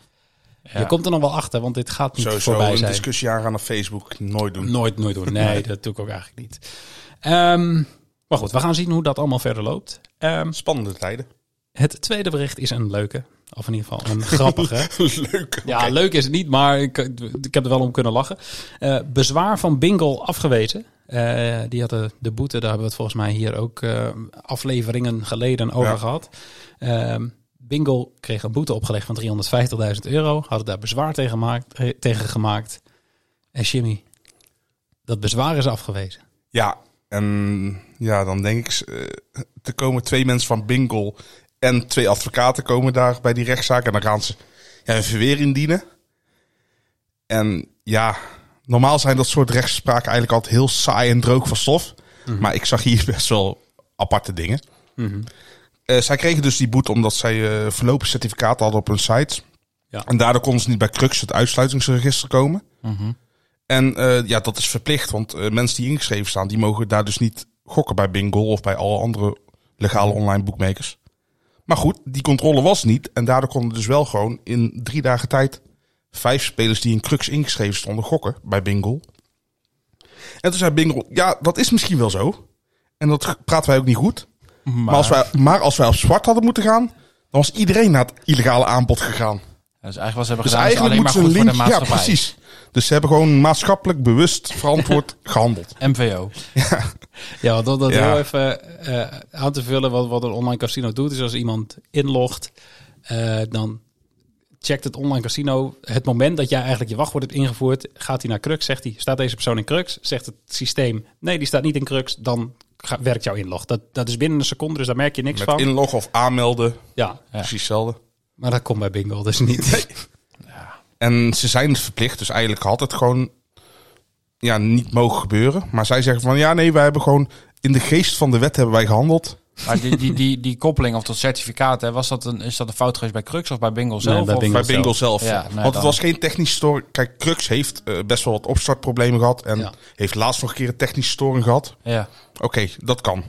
je komt er nog wel achter, want dit gaat niet
Sowieso
voorbij
een
zijn.
discussie aangaan op Facebook. Nooit doen.
Nooit, nooit doen. Nee, dat doe ik ook eigenlijk niet. Ehm, maar goed, we gaan zien hoe dat allemaal verder loopt. Ehm,
Spannende tijden.
het tweede bericht is een leuke. Of in ieder geval een grappige.
Leuk.
Ja, leuk is het niet, maar ik, ik heb er wel om kunnen lachen. Eh, bezwaar van Bingo afgewezen. Eh, die hadden de boete, daar hebben we het volgens mij hier ook eh, afleveringen geleden over
Ja.
gehad. Ehm, Bingo kreeg een boete opgelegd van 350.000 euro. Hadden daar bezwaar tegen, gemaakt- eh, tegen gemaakt. En Jimmy, dat bezwaar is afgewezen.
Ja, en ja, dan denk ik, eh, er komen twee mensen van Bingo en twee advocaten komen daar bij die rechtszaak. En dan gaan ze ja, hun verweer indienen. En ja, normaal zijn dat soort rechtspraken eigenlijk altijd heel saai en droog van stof. Maar ik zag hier best wel aparte dingen. Eh, zij kregen dus die boete omdat zij eh, voorlopig certificaten hadden op hun site.
Ja.
En daardoor konden ze niet bij Crux, het uitsluitingsregister, komen. En eh, ja, dat is verplicht, want eh, mensen die ingeschreven staan, die mogen daar dus niet gokken bij Bingo of bij alle andere legale online boekmakers. Maar goed, die controle was niet en daardoor konden dus wel gewoon in drie dagen tijd vijf spelers die in crux ingeschreven stonden gokken bij Bingo. En toen zei Bingo, ja, dat is misschien wel zo. En dat praten wij ook niet goed. Maar, als, wij, maar als wij op zwart hadden moeten gaan, dan was iedereen naar het illegale aanbod gegaan.
Dus eigenlijk wat ze hebben
Dus
gedaan is
eigenlijk
alleen maar
moeten ze
goed
een
voor
link...
de
Ja,
maatschappij.
precies. Dus ze hebben gewoon maatschappelijk bewust verantwoord gehandeld.
MVO.
Ja, want om dat
Ja.
heel even eh, aan te vullen, wat, wat een online casino doet, is als iemand inlogt, eh, dan checkt het online casino het moment dat jij eigenlijk je wachtwoord hebt ingevoerd, gaat hij naar Crux, zegt hij, staat deze persoon in Crux? Zegt het systeem, nee, die staat niet in Crux, dan ga- werkt jouw inlog. Dat, dat is binnen een seconde, dus daar merk je niks
Met
van.
inloggen of aanmelden,
ja,
precies hetzelfde.
maar dat komt bij Bingo dus niet.
En ze zijn het verplicht, dus eigenlijk had het gewoon ja, niet mogen gebeuren. Maar zij zeggen van, ja nee, wij hebben gewoon in de geest van de wet hebben wij gehandeld.
Maar die, die, die, die koppeling of dat certificaat, hè, was dat een, is dat een fout geweest bij Crux of bij Bingo zelf?
bij
Of-
Bingo.
bij Bingo zelf.
Ja, nee,
Want
dan-
het was geen technische storing. Kijk, Crux heeft eh, best wel wat opstartproblemen gehad. En
Ja.
heeft laatst nog een keer een technische storing gehad.
Ja.
Oké, dat kan.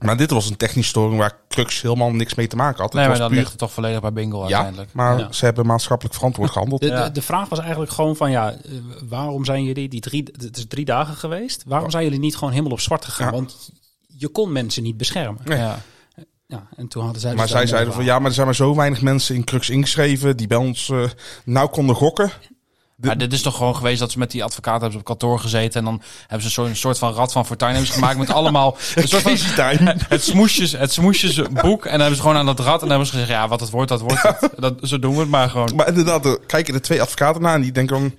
Maar dit was een technische storing waar Crux helemaal niks mee te maken had.
Nee,
Het
maar
was
dan
puur
ligt het toch volledig bij Bingo
Ja,
uiteindelijk.
maar
Ja.
ze hebben maatschappelijk verantwoord gehandeld.
De,
Ja.
de, de vraag was eigenlijk gewoon van ja, eh, waarom zijn jullie die drie, het is drie dagen geweest, waarom zijn jullie niet gewoon helemaal op zwart gegaan?
Ja.
Want je kon mensen niet beschermen.
Nee.
Ja.
Ja, en toen hadden zij dus
maar
daar
zij
een
zeiden
mooi
van ja, maar er zijn maar zo weinig mensen in Crux ingeschreven die bij ons eh, nou konden gokken.
Maar dit is toch gewoon geweest dat ze met die advocaat hebben ze op kantoor gezeten. En dan hebben ze een soort, een soort van rad van fortuin hebben ze gemaakt met allemaal een soort van
Crazy time.
het smoesjes, het smoesjesboek. En dan hebben ze gewoon aan dat rad en dan hebben ze gezegd, ja, wat het wordt, dat wordt het. Dat, zo doen we het maar gewoon.
maar inderdaad, er kijken de twee advocaten naar en die denken van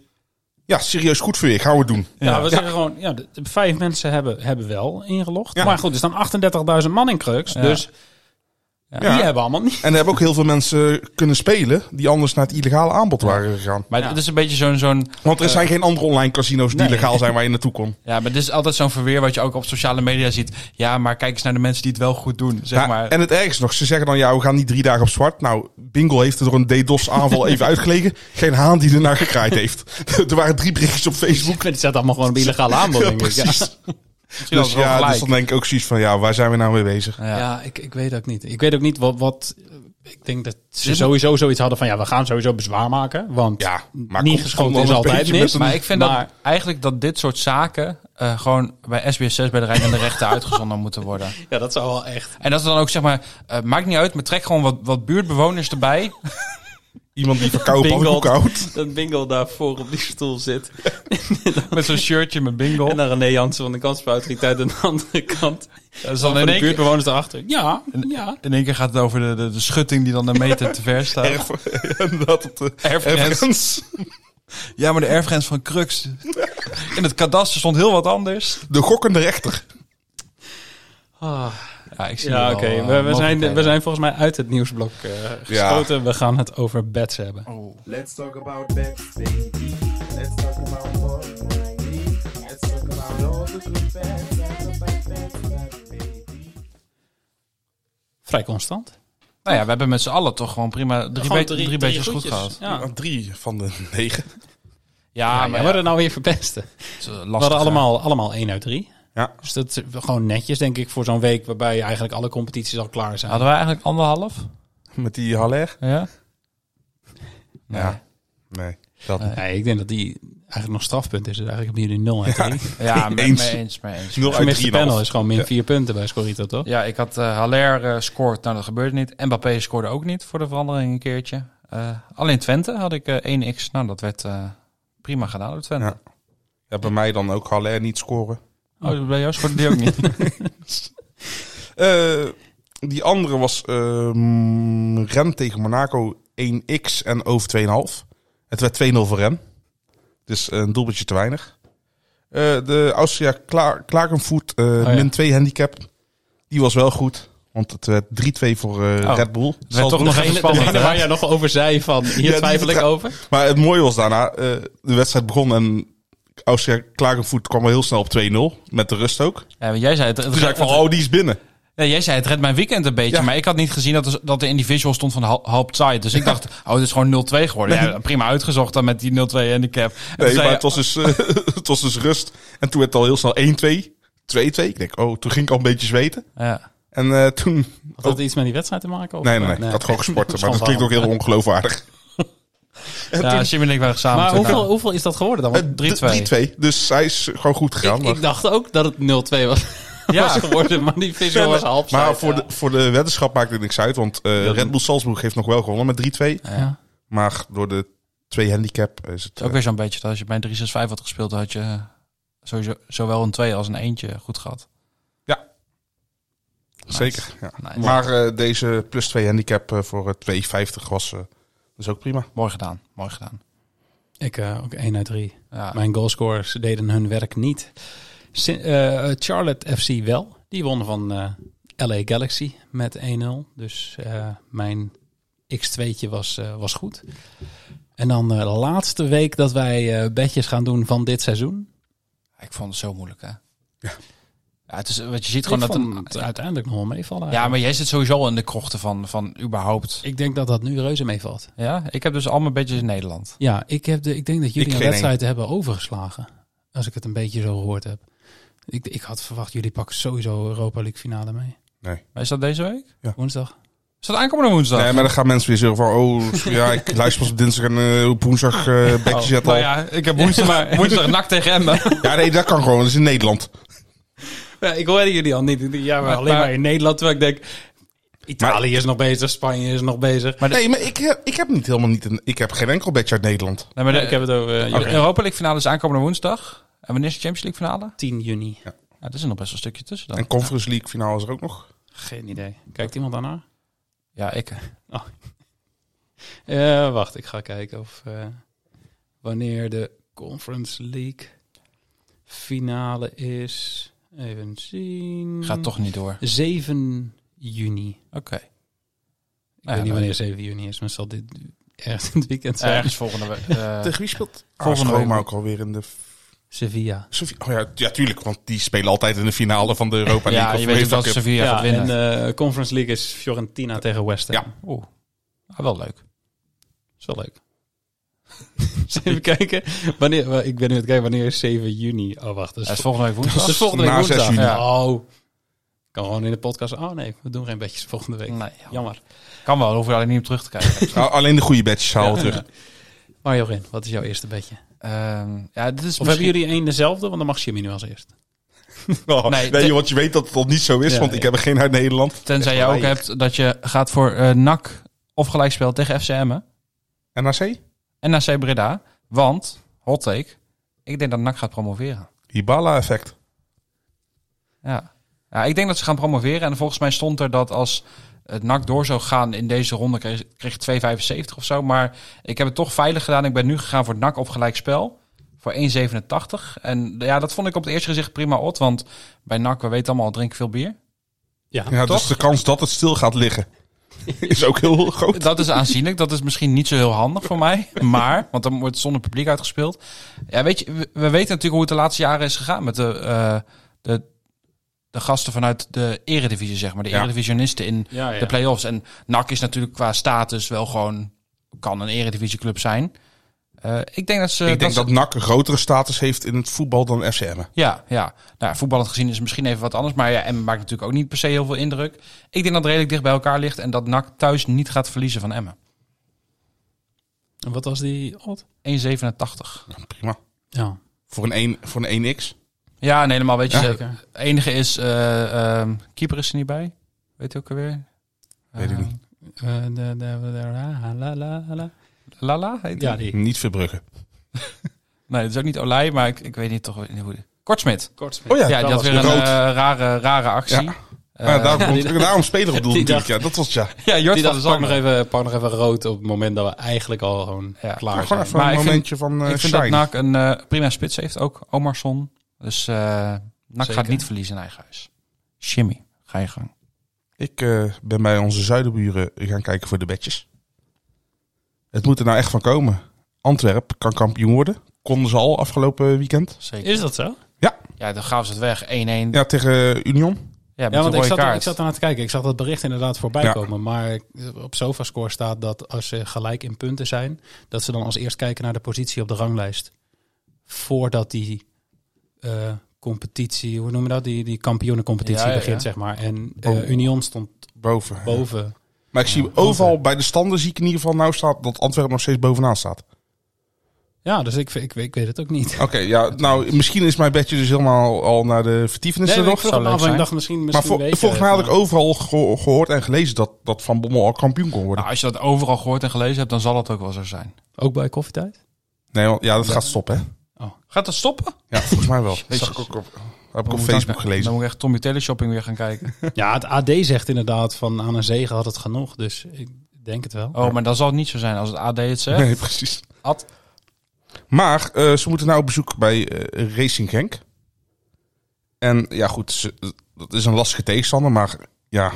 ja, serieus goed voor je, gaan we het doen.
verhaal. Ja, we zeggen gewoon, ja, de, de vijf mensen hebben, hebben wel ingelogd.
Ja.
Maar goed, er staan 38.000 man in Crux.
Ja.
Dus die
Ja.
hebben allemaal niet.
En er hebben ook heel veel mensen kunnen spelen die anders naar het illegale aanbod waren gegaan.
Maar
Ja.
dit is een beetje zo'n... zo'n
Want er zijn
Eh,
geen andere online casino's die
nee.
legaal zijn waar je naartoe kon.
ja, maar dit is altijd zo'n verweer wat je ook op sociale media ziet. Ja, maar kijk eens naar de mensen die het wel goed doen, zeg
Ja,
maar.
Nou, En het ergste nog, ze zeggen dan ja, we gaan niet drie dagen op zwart. Nou, Bingo heeft er door een DDoS aanval even uitgelegen. Geen haan die ernaar gekraaid heeft. er waren drie berichtjes op Facebook.
Die zaten allemaal gewoon op illegale aanbod. denk ik. Ja,
Misschien
Dus
hadden ze
ja,
wel
dus
gelijk.
dan denk ik ook zoiets van, ja, waar zijn we nou mee bezig?
Ja.
ja. ik, ik weet ook niet. Ik weet ook niet wat... wat ik denk dat ze
moet-
sowieso zoiets hadden van ja, we gaan sowieso bezwaar maken. Want
Ja, maar
niet
komt
geschoten
gewoon
is
een
altijd
beetje
mis.
met een-
Maar ik vind
Maar-
dat eigenlijk dat dit soort zaken eh, gewoon bij SBS6 bij de Rijn en de Rechten uitgezonden moeten worden.
Ja, dat zou wel echt.
En dat ze dan ook zeg maar, eh, maakt niet uit, maar trek gewoon wat, wat buurtbewoners erbij.
Iemand die verkouden
Bingo.
pannenkoek houdt.
Dat Bingo daarvoor op die stoel zit.
Met zo'n shirtje met bingo.
dan René Jansen van de kansspelautoriteit aan de andere kant.
Dat is dan in één, keer,
buurtbewoners erachter. Ja, ja.
in één keer gaat het over de, de, de schutting die dan een meter te ver staat.
Erf, dat eh, op de
Erfgrens.
erfgrens.
Ja, maar de erfgrens van Crux. In het kadaster stond heel wat anders.
De gokkende rechter.
Ja, ik zie
Ja,
wel,
oké.
eh,
We, we, zijn,
mogelijkheden.
we zijn volgens mij uit het nieuwsblok eh, geschoten. We gaan het over bets hebben.
Oh.
Let's talk about bets, baby. Let's talk about money. Let's talk about all the good bets and the bad bets, bad baby.
Vrij constant.
Nou ja, we hebben met z'n allen toch gewoon prima drie,
Gewoon
be- drie, beetjes goed
goedjes.
gehad.
Ja.
Aan Nou, Drie van de negen.
Ja,
Ja,
maar
maar
ja,
we nou weer verpesten.
het is, eh,
We
lastig,
hadden
hè.
allemaal, allemaal 1 uit 3.
Ja.
Dus dat is gewoon netjes, denk ik, voor zo'n week waarbij eigenlijk alle competities al klaar zijn.
Hadden we eigenlijk anderhalf?
Met die Haller?
Ja.
Ja. Nee. Dat niet.
Nee, ik denk dat die eigenlijk nog strafpunt is. Dus eigenlijk hebben jullie 0 en 3.
Ja, mee
Eens.
eens. Mee eens, mee eens.
Nul
De
uit
gemiste
3,5.
panel is gewoon min
Ja.
4 punten bij Scorito, toch?
Ja, ik had eh Haller eh, scoort. Nou, dat gebeurde niet. Mbappé scoorde ook niet voor de verandering een keertje. Eh, alleen Twente had ik eh, 1x. Nou, dat werd eh, prima gedaan door Twente.
Ja. Ja, bij mij dan ook Haller niet scoren.
Oh, bij jou scoorde die ook niet.
Eh, die andere was ehm Ren tegen Monaco 1x en over 2,5. Het werd 2-0 voor Ren. Dus een doelpuntje te weinig. Eh, de Austria Kla Klagenvoet, eh,
Oh
ja.
min 2 handicap. Die was wel goed. Want het werd 3-2 voor eh,
Oh.
Red Bull.
Het werd toch nog even spannend.
Degene
hè?
waar jij nog over zei van, hier
Ja, die
twijfel ik
vertra-
over.
Maar het mooie was daarna, eh, de wedstrijd begon en Austria Klagenvoet kwam al heel snel op 2-0. Met de rust ook. Toen
Ja, maar jij zei het, het,
zei ik van,
het-
oh die is binnen.
nee, jij zei het redt mijn weekend een beetje.
Ja.
Maar ik had niet gezien dat, er- dat er in die visual stond van hal- halbzij. Dus ik dacht, oh, het is gewoon 0-2 geworden. Ja, prima uitgezocht dan met die 0-2 handicap. En toen
Nee, maar
zei je,
het was, dus, eh, het was dus rust. En toen werd het al heel snel 1-2, 2-2. Ik denk, oh, toen ging ik al een beetje zweten.
Ja.
En eh, toen...
Had dat iets met die wedstrijd te maken? Of
Nee, nee, nee. Ik had gewoon gesporten. Maar dat klinkt ook heel ongeloofwaardig.
Ja, Jimmy en ik waren samen.
Maar
toen,
hoeveel,
nou.
hoeveel is dat geworden dan?
Eh,
Want
d-
3-2.
3-2. Dus hij is gewoon goed gegaan.
ik,
maar-
ik dacht ook dat het 0-2 was, was
Ja,
geworden, maar die visual was half.
maar voor, de, voor de weddenschap maakt het niks uit. Want eh, Red Bull Salzburg heeft nog wel gewonnen met 3-2.
Ja.
Maar door de twee handicap is het...
Het is ook weer zo'n beetje dat als je bij een 365 had gespeeld, dan had je eh, sowieso zowel een 2 als een eentje goed gehad.
eh, zeker. Ja.
Nice.
Maar eh, deze plus 2 handicap eh, voor eh, 2,50 was eh, dus ook prima.
Mooi gedaan, mooi gedaan.
Ik eh, ook 1 uit 3.
Ja.
Mijn goalscorers deden hun werk niet. Sin- eh, eh, Charlotte FC wel. Die wonnen van eh, LA Galaxy met 1-0. Dus eh, mijn x2'tje was, eh, was goed. En dan eh, de laatste week dat wij eh bedjes gaan doen van dit seizoen.
Ik vond het zo moeilijk, hè? Ja. het is, wat je ziet
Ik
gewoon dat...
vond
een-
het uiteindelijk nog wel meevallen.
ja, maar jij zit sowieso al in de krochten van, van überhaupt.
Ik denk dat dat nu reuze meevalt.
Ja, ik heb dus allemaal bedjes in Nederland.
Ja, ik, heb de, ik denk dat jullie
Ik
een
geen
wedstrijd hebben overgeslagen. Als ik het een beetje zo gehoord heb. Ik, ik had verwacht, jullie pakken sowieso Europa League finale mee.
Maar is dat deze week?
Woensdag.
Is dat aankomende woensdag?
Nee, maar dan gaan mensen weer zeggen van... Oh, ja, ik luister pas op dinsdag en eh, op woensdag eh
Oh,
bekje zetten al.
nou ja, ik heb woensdag, maar woensdag nak tegen Emmen.
Ja, nee, dat kan gewoon. Dat is in Nederland.
Ja, ik hoorde jullie al niet. Ik denk, Ja, maar, alleen maar,
maar-
in Nederland. Terwijl ik denk, Italië is nog bezig, Spanje is nog bezig. Maar
Nee, maar ik, heb- ik heb niet helemaal niet... Een, ik heb geen enkel badge uit Nederland.
Nee, maar de
ik heb het over eh,
de Europa League finale is aankomende woensdag. En wanneer is de Champions League finale?
10 juni.
Nou, er is nog best wel een stukje tussen dan.
En Conference League finale is er ook nog.
Geen idee. Kijkt iemand daarnaar?
Ja, ik.
Eh wacht, ik ga kijken of eh, wanneer de Conference League finale is. Even zien.
Gaat toch niet door.
7 juni. Ik
Oké.
weet niet
dan-
wanneer 7 juni is, maar het zal dit ergens in het weekend zijn.
Ergens volgende week. eh,
Tegen wie speelt
Volgende
volgende Roma
week.
ook alweer in de...
Sevilla.
Sofie- Oh ja, ja, tuurlijk. Want die spelen altijd in de finale van de Europa League.
ja,
of
je weet ook
UEFA
dat
Cup.
Sevilla gaat winnen.
en eh, Conference League is Fiorentina tegen West Ham.
Ja.
Oeh. Ah, wel leuk.
Is wel leuk. Eens even kijken. Wanneer, wa- ik ben nu aan het kijken, wanneer is 7 juni? Oh, wacht. Dat is,
Dat is
vol-
volgende week
dat
woensdag.
is volgende week
na 6
woensdag.
juni.
Ja. Oh. Kan gewoon in de podcast. Oh nee, we doen geen bedjes volgende week.
Nee,
Jammer.
kan wel, hoef je alleen niet op terug te kijken.
Nou, alleen de goede badges halen we terug.
Mario Rin, wat is jouw eerste bedje? Of
Ehm, ja, dit is
hebben jullie één dezelfde? Want dan mag Jimmy nu als eerst.
Oh,
Nee,
nee,
te-
want je weet dat het al niet zo is.
Ja,
want ik heb er geen uit Nederland.
Tenzij jij ook hebt dat je gaat voor eh NAC of gelijkspel tegen FCM
NAC?
en NAC Breda. Want, hot take, ik denk dat NAC gaat promoveren.
Hibala-effect.
Ja. ja, ik denk dat ze gaan promoveren. En volgens mij stond er dat als het NAC door zou gaan in deze ronde, kreeg, kreeg je 2,75 of zo. Maar ik heb het toch veilig gedaan. Ik ben nu gegaan voor het NAC op gelijkspel. Voor 1,87. En ja, dat vond ik op het eerste gezicht prima odd. Want bij NAC, we weten allemaal, drinken veel bier.
Ja, dus de kans dat het stil gaat liggen is ook heel groot.
Dat is aanzienlijk. Dat is misschien niet zo heel handig voor mij. Maar, want dan wordt het zonder publiek uitgespeeld. Ja, weet je, we, we weten natuurlijk hoe het de laatste jaren is gegaan met de, eh, de, de gasten vanuit de eredivisie, zeg maar. De
Ja.
eredivisionisten in
Ja, ja.
de play-offs. En NAC is natuurlijk qua status wel gewoon, kan een eredivisieclub zijn. Eh, Eh, ik denk dat ze...
ik denk
ze-
dat NAC een grotere status heeft in het voetbal dan FCM.
Ja, ja. Nou, voetballend gezien is misschien even wat anders. Maar ja, Emmen maakt natuurlijk ook niet per se heel veel indruk. Ik denk dat het redelijk dicht bij elkaar ligt. En dat NAC thuis niet gaat verliezen van Emmen.
En wat was die odd?
1,87.
Nou, Prima.
Ja.
Voor een, 1, voor een 1x.
Ja, nee, helemaal weet je.
Ja.
zeker. Het enige is... eh, ehm, keeper is er niet bij. Weet je ook alweer?
Weet ik
Eh,
niet.
Eh, de- de- de- la, la, la, la.
Lala? Heet die?
Ja, die.
Niet Verbrugge.
Eh, Nee, dat is ook niet Olij, maar ik, ik weet niet toch niet hoe... die- Kortsmit.
Oh
Ja, die had weer een
rood.
eh, rare, rare actie.
Ja.
Eh,
Nou Ja, daarom, daarom spelen op doel
die
natuurlijk.
dag-
Ja, dat was ja.
ja, Jort
Die dacht,
van der
pak
Zand.
nog, even, pak nog even rood op het moment dat we eigenlijk al gewoon
Ja.
klaar
Gewoon
zijn.
even
Ah, Maar
een
ik vind-
momentje van eh
ik vind
shine.
dat NAC een eh, prima spits heeft, ook Omarsson. Dus eh NAC gaat
Zeker.
niet verliezen in eigen huis. Jimmy, ga je gang.
Ik eh, ben bij onze zuidenburen gaan kijken voor de bedjes. Het moet er nou echt van komen. Antwerpen kan kampioen worden. Konden ze al afgelopen weekend.
Zeker.
Is dat zo?
Ja, dan gaven ze het weg. 1-1. Ja,
Ja, tegen eh, Union.
met
Ja,
een
want
rode
ik zat, er-
kaart.
ik zat ernaar te kijken. Ik zag dat bericht inderdaad voorbij
Ja.
komen. Maar op Sofascore staat dat als ze gelijk in punten zijn, dat ze dan als eerst kijken naar de positie op de ranglijst. Voordat die eh, competitie, hoe noem je dat? Die, die kampioenencompetitie
Ja, ja,
begint,
ja.
zeg maar. En eh, Union stond
Boven.
boven.
Maar ik zie overal bij de standen zie ik in ieder geval nou staat dat Antwerpen nog steeds bovenaan staat.
Ja, dus ik, ik, ik weet het ook niet.
Oké, ja, nou misschien is mijn bedje dus helemaal al naar de vertiefenis
Nee,
er
maar ik
nog.
vroeg
zou
me af
leuk
en ik
zijn.
dacht misschien,
Maar
misschien
vo-
weet je
volgens mij
het,
had ik
maar-
overal geho- gehoord en gelezen dat, dat Van Bommel al kampioen kon worden.
Nou, als je dat overal gehoord en gelezen hebt, dan zal dat ook wel zo zijn.
Ook bij koffietijd?
Nee, want, ja, dat gaat stoppen hè.
Gaat dat stoppen?
Ja, volgens mij wel. Dat
Jezus.
zag ik ook op, heb ik
Dan
op
moet ik-
Facebook
nou-
gelezen.
Dan moet ik echt Tommy Teleshopping weer gaan kijken.
Ja, het AD zegt inderdaad van aan een zegen had het genoeg. Dus ik denk het wel.
Oh, maar dan zal het niet zo zijn als het AD het
nou-
zegt.
Nee, precies.
Ad.
Maar eh, ze moeten nou op bezoek bij eh, Racing Genk. En ja, goed, ze- dat is een lastige tegenstander, maar ja.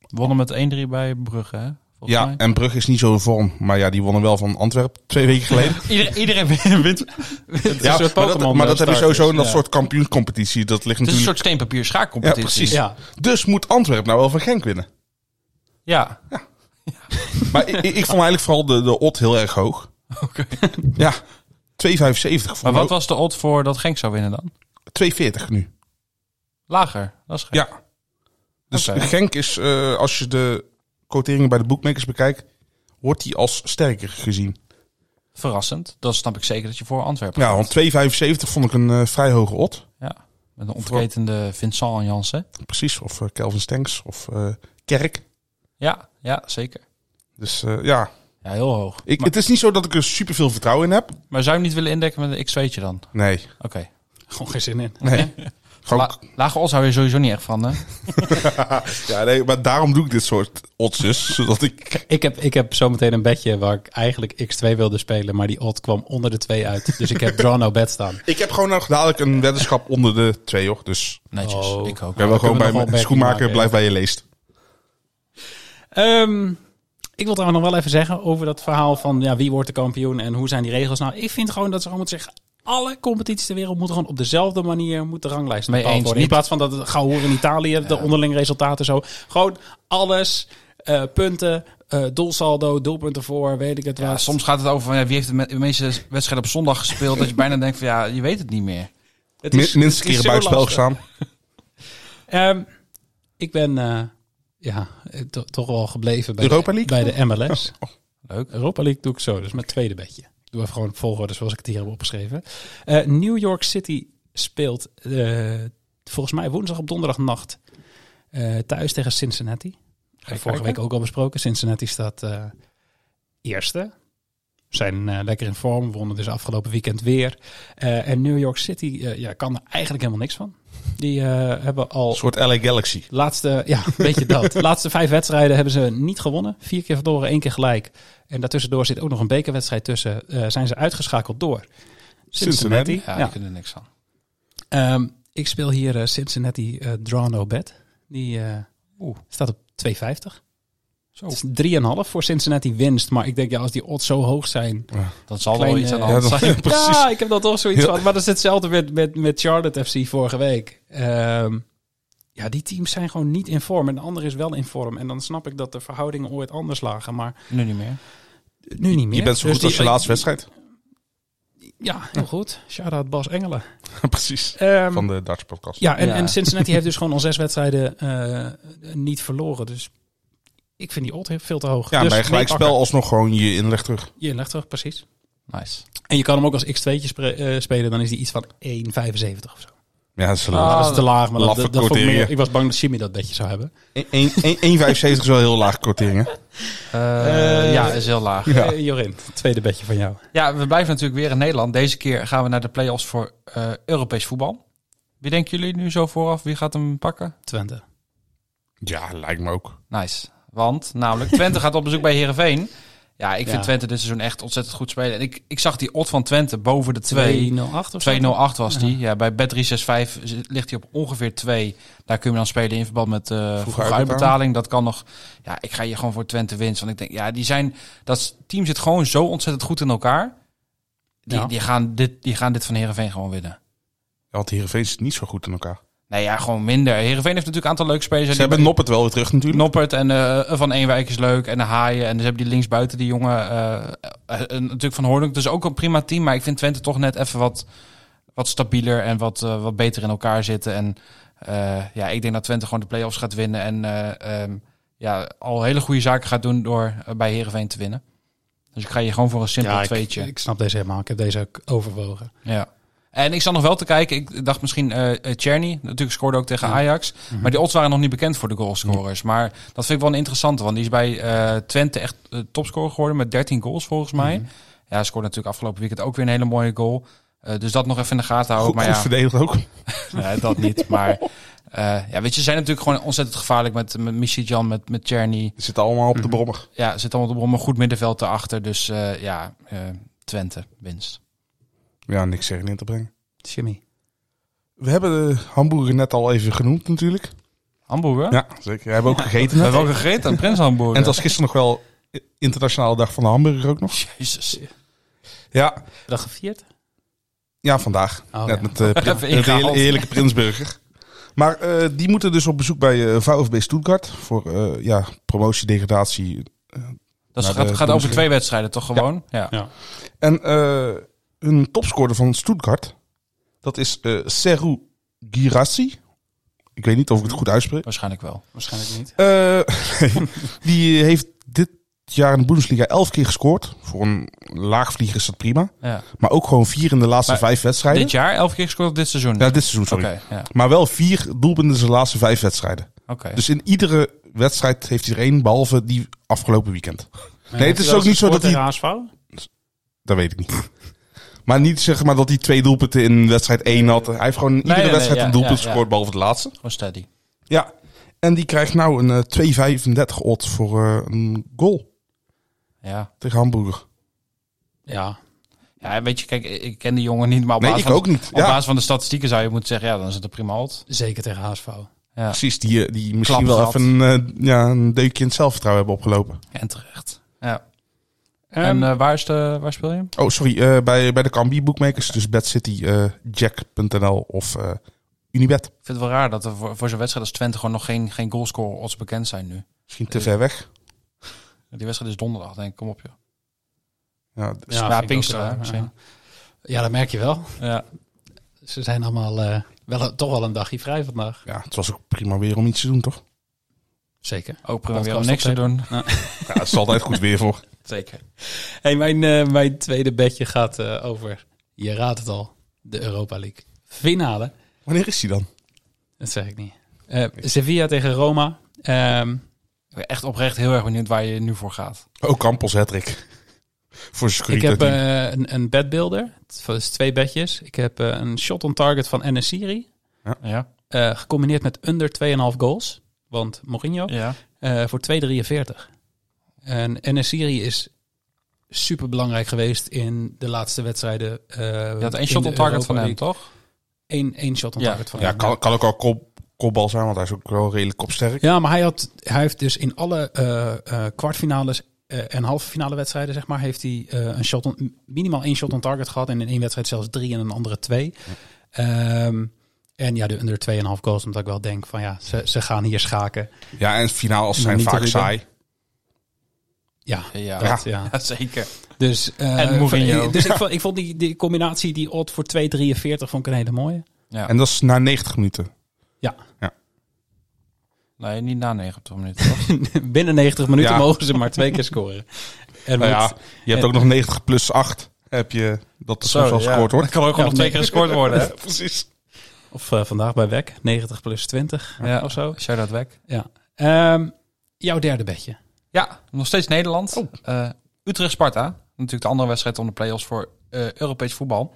Wonnen met 1-3 bij Brugge, hè? Volgens
ja
mij.
en Brugge is niet zo in vorm, maar ja, die wonnen wel van Antwerpen twee weken geleden.
Iedereen, iedereen wint.
ja,
soort
maar dat,
Pokémon,
maar
eh,
dat heb je
starters,
sowieso in dat
ja.
soort kampioenscompetitie. Dat ligt
Het is een
natuurlijk.
soort steenpapier schaakcompetitie.
Ja, precies.
Ja,
Dus moet Antwerpen nou wel van Genk winnen.
Ja,
Maar ik, ik vond eigenlijk vooral de, de odd heel erg hoog.
Oké.
Ja, 2,75 vond
maar
ik
wat
ook.
was de odd voor dat Genk zou winnen dan?
2,40 nu.
Lager, dat is gek.
Ja. Dus
Oké.
Genk is, eh, als je de quoteringen bij de bookmakers bekijkt, wordt die als sterker gezien.
Verrassend. Dat snap ik zeker dat je voor Antwerpen
Ja,
gaat.
want 2,75 vond ik een eh, vrij hoge odd.
Ja. Met een ontketende Vincent en Jansen.
Precies, of eh, Kelvin Stenks of eh, Kerk.
Ja, ja, zeker.
Dus eh, ja,
Ja, heel hoog.
ik,
maar,
het is niet zo dat ik er superveel vertrouwen in heb.
maar zou je hem niet willen indekken met een x2'tje dan?
Nee,
Oké.
gewoon geen zin in.
nee. Gewoon,
La- lage odds hou je sowieso niet echt van, hè?
ja, nee, maar daarom doe ik dit soort odds dus, zodat ik...
Ik heb, ik heb zometeen een bedje waar ik eigenlijk X2 wilde spelen, maar die odd kwam onder de 2 uit. Dus ik heb draw no bed staan.
Ik heb gewoon nog dadelijk een weddenschap onder de twee, hoor. Dus
Netjes,
Oh.
ik ook.
ik ben wel gewoon
kunnen we nog wel
bij mijn
opmerking
schoenmaker,
maken,
blijf bij je leest.
Ehm, ik wil trouwens nog wel even zeggen over dat verhaal van ja, wie wordt de kampioen en hoe zijn die regels. Nou, ik vind gewoon dat ze gewoon moeten zeggen, alle competities ter wereld moeten gewoon op dezelfde manier moet de ranglijst
Mee
bepaald
eens,
worden. In
niet-
plaats van dat het gauw horen in Italië, de onderling resultaten zo. Gewoon alles, eh, punten, eh, doelsaldo, doelpunten voor, weet ik het wel.
Ja, soms gaat het over van, ja, wie heeft de me- de meeste wedstrijden op zondag gespeeld. dat je bijna denkt van ja, je weet het niet meer.
het
Min-
het
Minstens een keer
zo
buitenspel
lastig.
gestaan.
Ehm, ik ben eh, ja, eh, to- toch wel gebleven bij,
Europa
de,
League? Oh,
bij de MLS.
Leuk.
Europa League doe ik zo, dus mijn tweede bedje. Ik doe even gewoon op volgorde zoals ik het hier heb opgeschreven. Eh, New York City speelt eh, volgens mij woensdag op donderdagnacht eh, thuis tegen Cincinnati. Vorige week ook al besproken. Cincinnati staat eh, eerste. Zijn eh, lekker in vorm, wonnen dus afgelopen weekend weer. Eh, en New York City eh, ja, kan er eigenlijk helemaal niks van. Die eh, hebben al
Een soort LA Galaxy.
Laatste, ja, weet je dat. Laatste vijf wedstrijden hebben ze niet gewonnen. Vier keer verloren, één keer gelijk. En daartussendoor zit ook nog een bekerwedstrijd tussen. Eh, zijn ze uitgeschakeld door Cincinnati.
Cincinnati.
Ja,
Ja.
ik kan er niks aan.
Ehm, ik speel hier eh, Cincinnati eh Draw No Bet. Die eh,
Oeh.
staat op 2,50.
Zo.
Het is 3,5 voor Cincinnati winst. Maar ik denk, ja, als die odds zo hoog zijn.
Dat zal
Klein,
wel iets aan de
eh,
hand
ja, dat-
zijn.
Precies.
Ja, ik heb dat toch zoiets
Ja.
van. Maar dat is hetzelfde met, met, met Charlotte FC vorige week. Ehm, ja, die teams zijn gewoon niet in vorm. En de ander is wel in vorm. En dan snap ik dat de verhoudingen ooit anders lagen. Maar
Nu niet meer.
nu niet meer.
Je bent zo
Dus
goed als
die-
je laatste wedstrijd.
Ja, heel goed. Shout-out Bas Engelen.
Precies.
Ehm,
Van de Dutch podcast.
ja, en,
Ja.
en Cincinnati heeft dus gewoon al zes wedstrijden eh, niet verloren. Dus ik vind die odd veel te hoog. dus
Ja, bij een
nee,
gelijkspel
pakken.
alsnog gewoon je inleg terug.
Je legt terug, precies.
Nice.
En je kan hem ook als x2'tje spre- eh, spelen. Dan is die iets van 1,75 of zo.
Ja, dat is een
Nou, dat is te laag, maar dat,
laffe
dat, dat vond ik meer,
quotering.
ik was bang dat Jimmy dat bedje zou hebben.
1,75 is wel heel laag kortering, hè?
Eh, ja, is heel laag.
Ja.
Eh, Jorin, tweede bedje van jou.
Ja, we blijven natuurlijk weer in Nederland. Deze keer gaan we naar de play-offs voor eh, Europees voetbal. Wie denken jullie nu zo vooraf? Wie gaat hem pakken?
Twente.
Ja, lijkt me ook.
Nice. Want namelijk Twente gaat op bezoek bij Herenveen. Ja, ik
Ja.
vind Twente dit seizoen echt ontzettend goed spelen. En ik, ik zag die odd van Twente boven de 2.
208 of zo?
208 was die. Ja, bij Bet365 ligt hij op ongeveer 2. Daar kun je dan spelen in verband met eh vroege uitbetaling. Dat kan nog. Ja, ik ga hier gewoon voor Twente winst. Want ik denk, ja, die zijn. Dat team zit gewoon zo ontzettend goed in elkaar. Die,
Ja.
die, gaan, dit, die gaan dit van Herenveen gewoon winnen.
Ja, want Heerenveen zit niet zo goed in elkaar.
Nee, ja, gewoon minder. Herenveen heeft natuurlijk een aantal leuke spelers.
Ze hebben Noppert wel weer terug natuurlijk.
Noppert en eh, Van Eenwijk is leuk. En de Haaien. En dus hebben die linksbuiten die jongen. eh, eh, eh, natuurlijk Van Hoornhoek. Dus ook een prima team. Maar ik vind Twente toch net even wat, wat stabieler. En wat, eh, wat beter in elkaar zitten. En eh, ja, ik denk dat Twente gewoon de play-offs gaat winnen. En eh, ehm, ja, al hele goede zaken gaat doen door eh, bij Herenveen te winnen. Dus ik ga hier gewoon voor een simpel
ik,
tweetje.
ik snap deze helemaal. Ik heb deze ook overwogen.
Ja. En ik zat nog wel te kijken. Ik dacht misschien eh eh, Czerny. Natuurlijk scoorde ook tegen Ajax.
Mhm.
Maar die odds waren nog niet bekend voor de goalscorers. Maar dat vind ik wel een interessante. Want die is bij eh, Twente echt eh, topscorer geworden met 13 goals volgens mij.
Mhm.
Ja, hij scoorde natuurlijk afgelopen weekend ook weer een hele mooie goal. Eh, dus dat nog even in de gaten houden.
Goed,
maar
goed
ja,
verdedigd ook.
Nee, dat niet. Maar eh, ja, weet je, ze zijn natuurlijk gewoon ontzettend gevaarlijk met, met Michijan, met, met Czerny.
Het zit allemaal op de brommer.
Ja, zit allemaal op een goed middenveld erachter. Dus eh, ja, eh, Twente winst.
Ja, niks zeggen in te brengen.
Jimmy.
We hebben de hamburger net al even genoemd natuurlijk.
Hamburger?
Ja, zeker. We hebben ook gegeten. net.
We hebben ook gegeten, Prins Hamburger.
En het was gisteren nog wel internationale dag van de hamburger ook nog.
Jezus.
Ja,
Dat gevierd?
ja vandaag.
Oh,
net
ja.
met eh, pri-
Even
met de
ingehaald.
heerlijke, heerlijke Prinsburger. Maar eh, die moeten dus op bezoek bij eh, VfB Stuttgart voor eh, ja, promotie, degradatie.
Dat is-
Naar de
gaat, gaat over
Bundesliga.
twee wedstrijden toch gewoon? Ja.
Ja.
En eh, hun topscorer van Stuttgart, dat is eh Seru Girassi. Ik weet niet of ik het goed uitspreek.
Waarschijnlijk wel.
Waarschijnlijk niet.
Eh, die heeft dit jaar in de Bundesliga elf keer gescoord. Voor een laagvlieger is dat prima.
Ja.
Maar ook gewoon vier in de laatste
Maar
vijf wedstrijden.
Dit jaar elf keer gescoord of dit seizoen?
Ja, dit seizoen,
Oké,
sorry.
ja.
Maar wel vier doelpunten in zijn laatste vijf wedstrijden.
Oké.
Dus in iedere wedstrijd heeft hij er één, behalve die afgelopen weekend. Nee, het is ook niet zo dat hij...
ASV?
Dat weet ik niet. Maar niet zeg maar dat hij twee doelpunten in wedstrijd één had. Hij heeft gewoon in iedere
nee, nee,
wedstrijd
ja,
een doelpunt
ja, ja.
gescoord, behalve de laatste.
Gewoon steady.
Ja. En die krijgt nou een eh, 2,35 odd voor eh, een goal
Ja.
tegen Hamburger.
Ja.
ja, weet je, kijk, ik ken die jongen niet, maar op,
Nee,
basis,
ik
van,
ook niet.
op
Ja,
basis van de statistieken zou je moeten zeggen, ja, dan is het een prima alt.
Zeker tegen HSV.
precies. Die, eh, die misschien
Klap
wel
gehad.
even een, eh, ja, een deukje in het zelfvertrouwen hebben opgelopen.
En terecht. Ja. en eh, waar, is de, waar speel je hem?
Oh, sorry. eh, bij, bij de Kambi Bookmakers. Dus Bad City, eh, Jack.nl of eh, Unibet.
Ik vind het wel raar dat er voor, voor zo'n wedstrijd als Twente gewoon nog geen, geen goalscore odds bekend zijn nu.
Misschien te ver weg.
Die wedstrijd is donderdag, denk ik. Kom op, joh.
Ja, d-
Ja,
vind ik
Pinkster,
ook wel,
hè, misschien.
Ja, dat merk je wel.
Ja.
Ze zijn allemaal eh, wel, een- toch wel een dagje vrij vandaag.
ja, het was ook prima weer om iets te doen, toch?
Zeker.
Ook prima weer om
Podcast
niks te doen.
Ja, het is altijd goed weer voor.
Zeker.
Hey, mijn, eh, mijn tweede bedje gaat eh, over, je raadt het al, de Europa League finale.
Wanneer is die dan?
Dat zeg ik niet. Eh, Sevilla tegen Roma. Ehm,
Ik ben echt oprecht heel erg benieuwd waar je nu voor gaat.
Oh, Campos Hattrick. Voor
ik
security.
heb eh, een, een bedbuilder. Het is twee bedjes. Ik heb eh, een shot on target van Enesiri.
Ja.
eh gecombineerd met under 2,5 goals. Want Mourinho.
Ja.
eh, voor 2,43. En Enesiri is super belangrijk geweest in de laatste wedstrijden. eh
Je had één shot on target van hem, toch?
Eén, één shot on
Ja.
target van
ja,
hem.
kan, kan ook al kop, kopbal zijn, want hij is ook wel redelijk kopsterk.
Ja, maar hij, had, hij heeft dus in alle eh, eh, kwartfinales eh, en halve finale wedstrijden, zeg maar, heeft hij eh, een shot on- minimaal één shot on target gehad. En in één wedstrijd zelfs drie en in een andere twee. Ehm, en ja, de under 2,5 goals, omdat ik wel denk van ja, ze, ze gaan hier schaken.
Ja, en het finaal
Maar
zijn
niet te
vaak
goed, hè?
saai.
Ja,
Ja,
dat, ja.
Ja, zeker.
Dus, eh,
En Mourinho.
van- Dus ik vond, ik vond die, die combinatie, die odd voor 2,43, vond ik een hele mooie.
Ja.
En dat is na 90 minuten.
Nee, niet na 90 minuten. toch?
Binnen 90 minuten
Ja.
mogen ze maar twee keer scoren. En
Nou
met-
ja, je hebt
en-
ook nog 90 plus 8. Heb je dat er soms al
ja.
gescoord
Dat
wordt.
kan ook gewoon nog
nee.
twee keer gescoord worden. hè?
Precies.
Of eh, vandaag bij WEC, 90 plus 20
Ja.
of zo.
Shout out weg.
Ja. Ehm, jouw derde bedje.
Ja, nog steeds Nederland.
Oh.
Eh, Utrecht-Sparta. Natuurlijk de andere wedstrijd om de play-offs voor eh, Europees voetbal.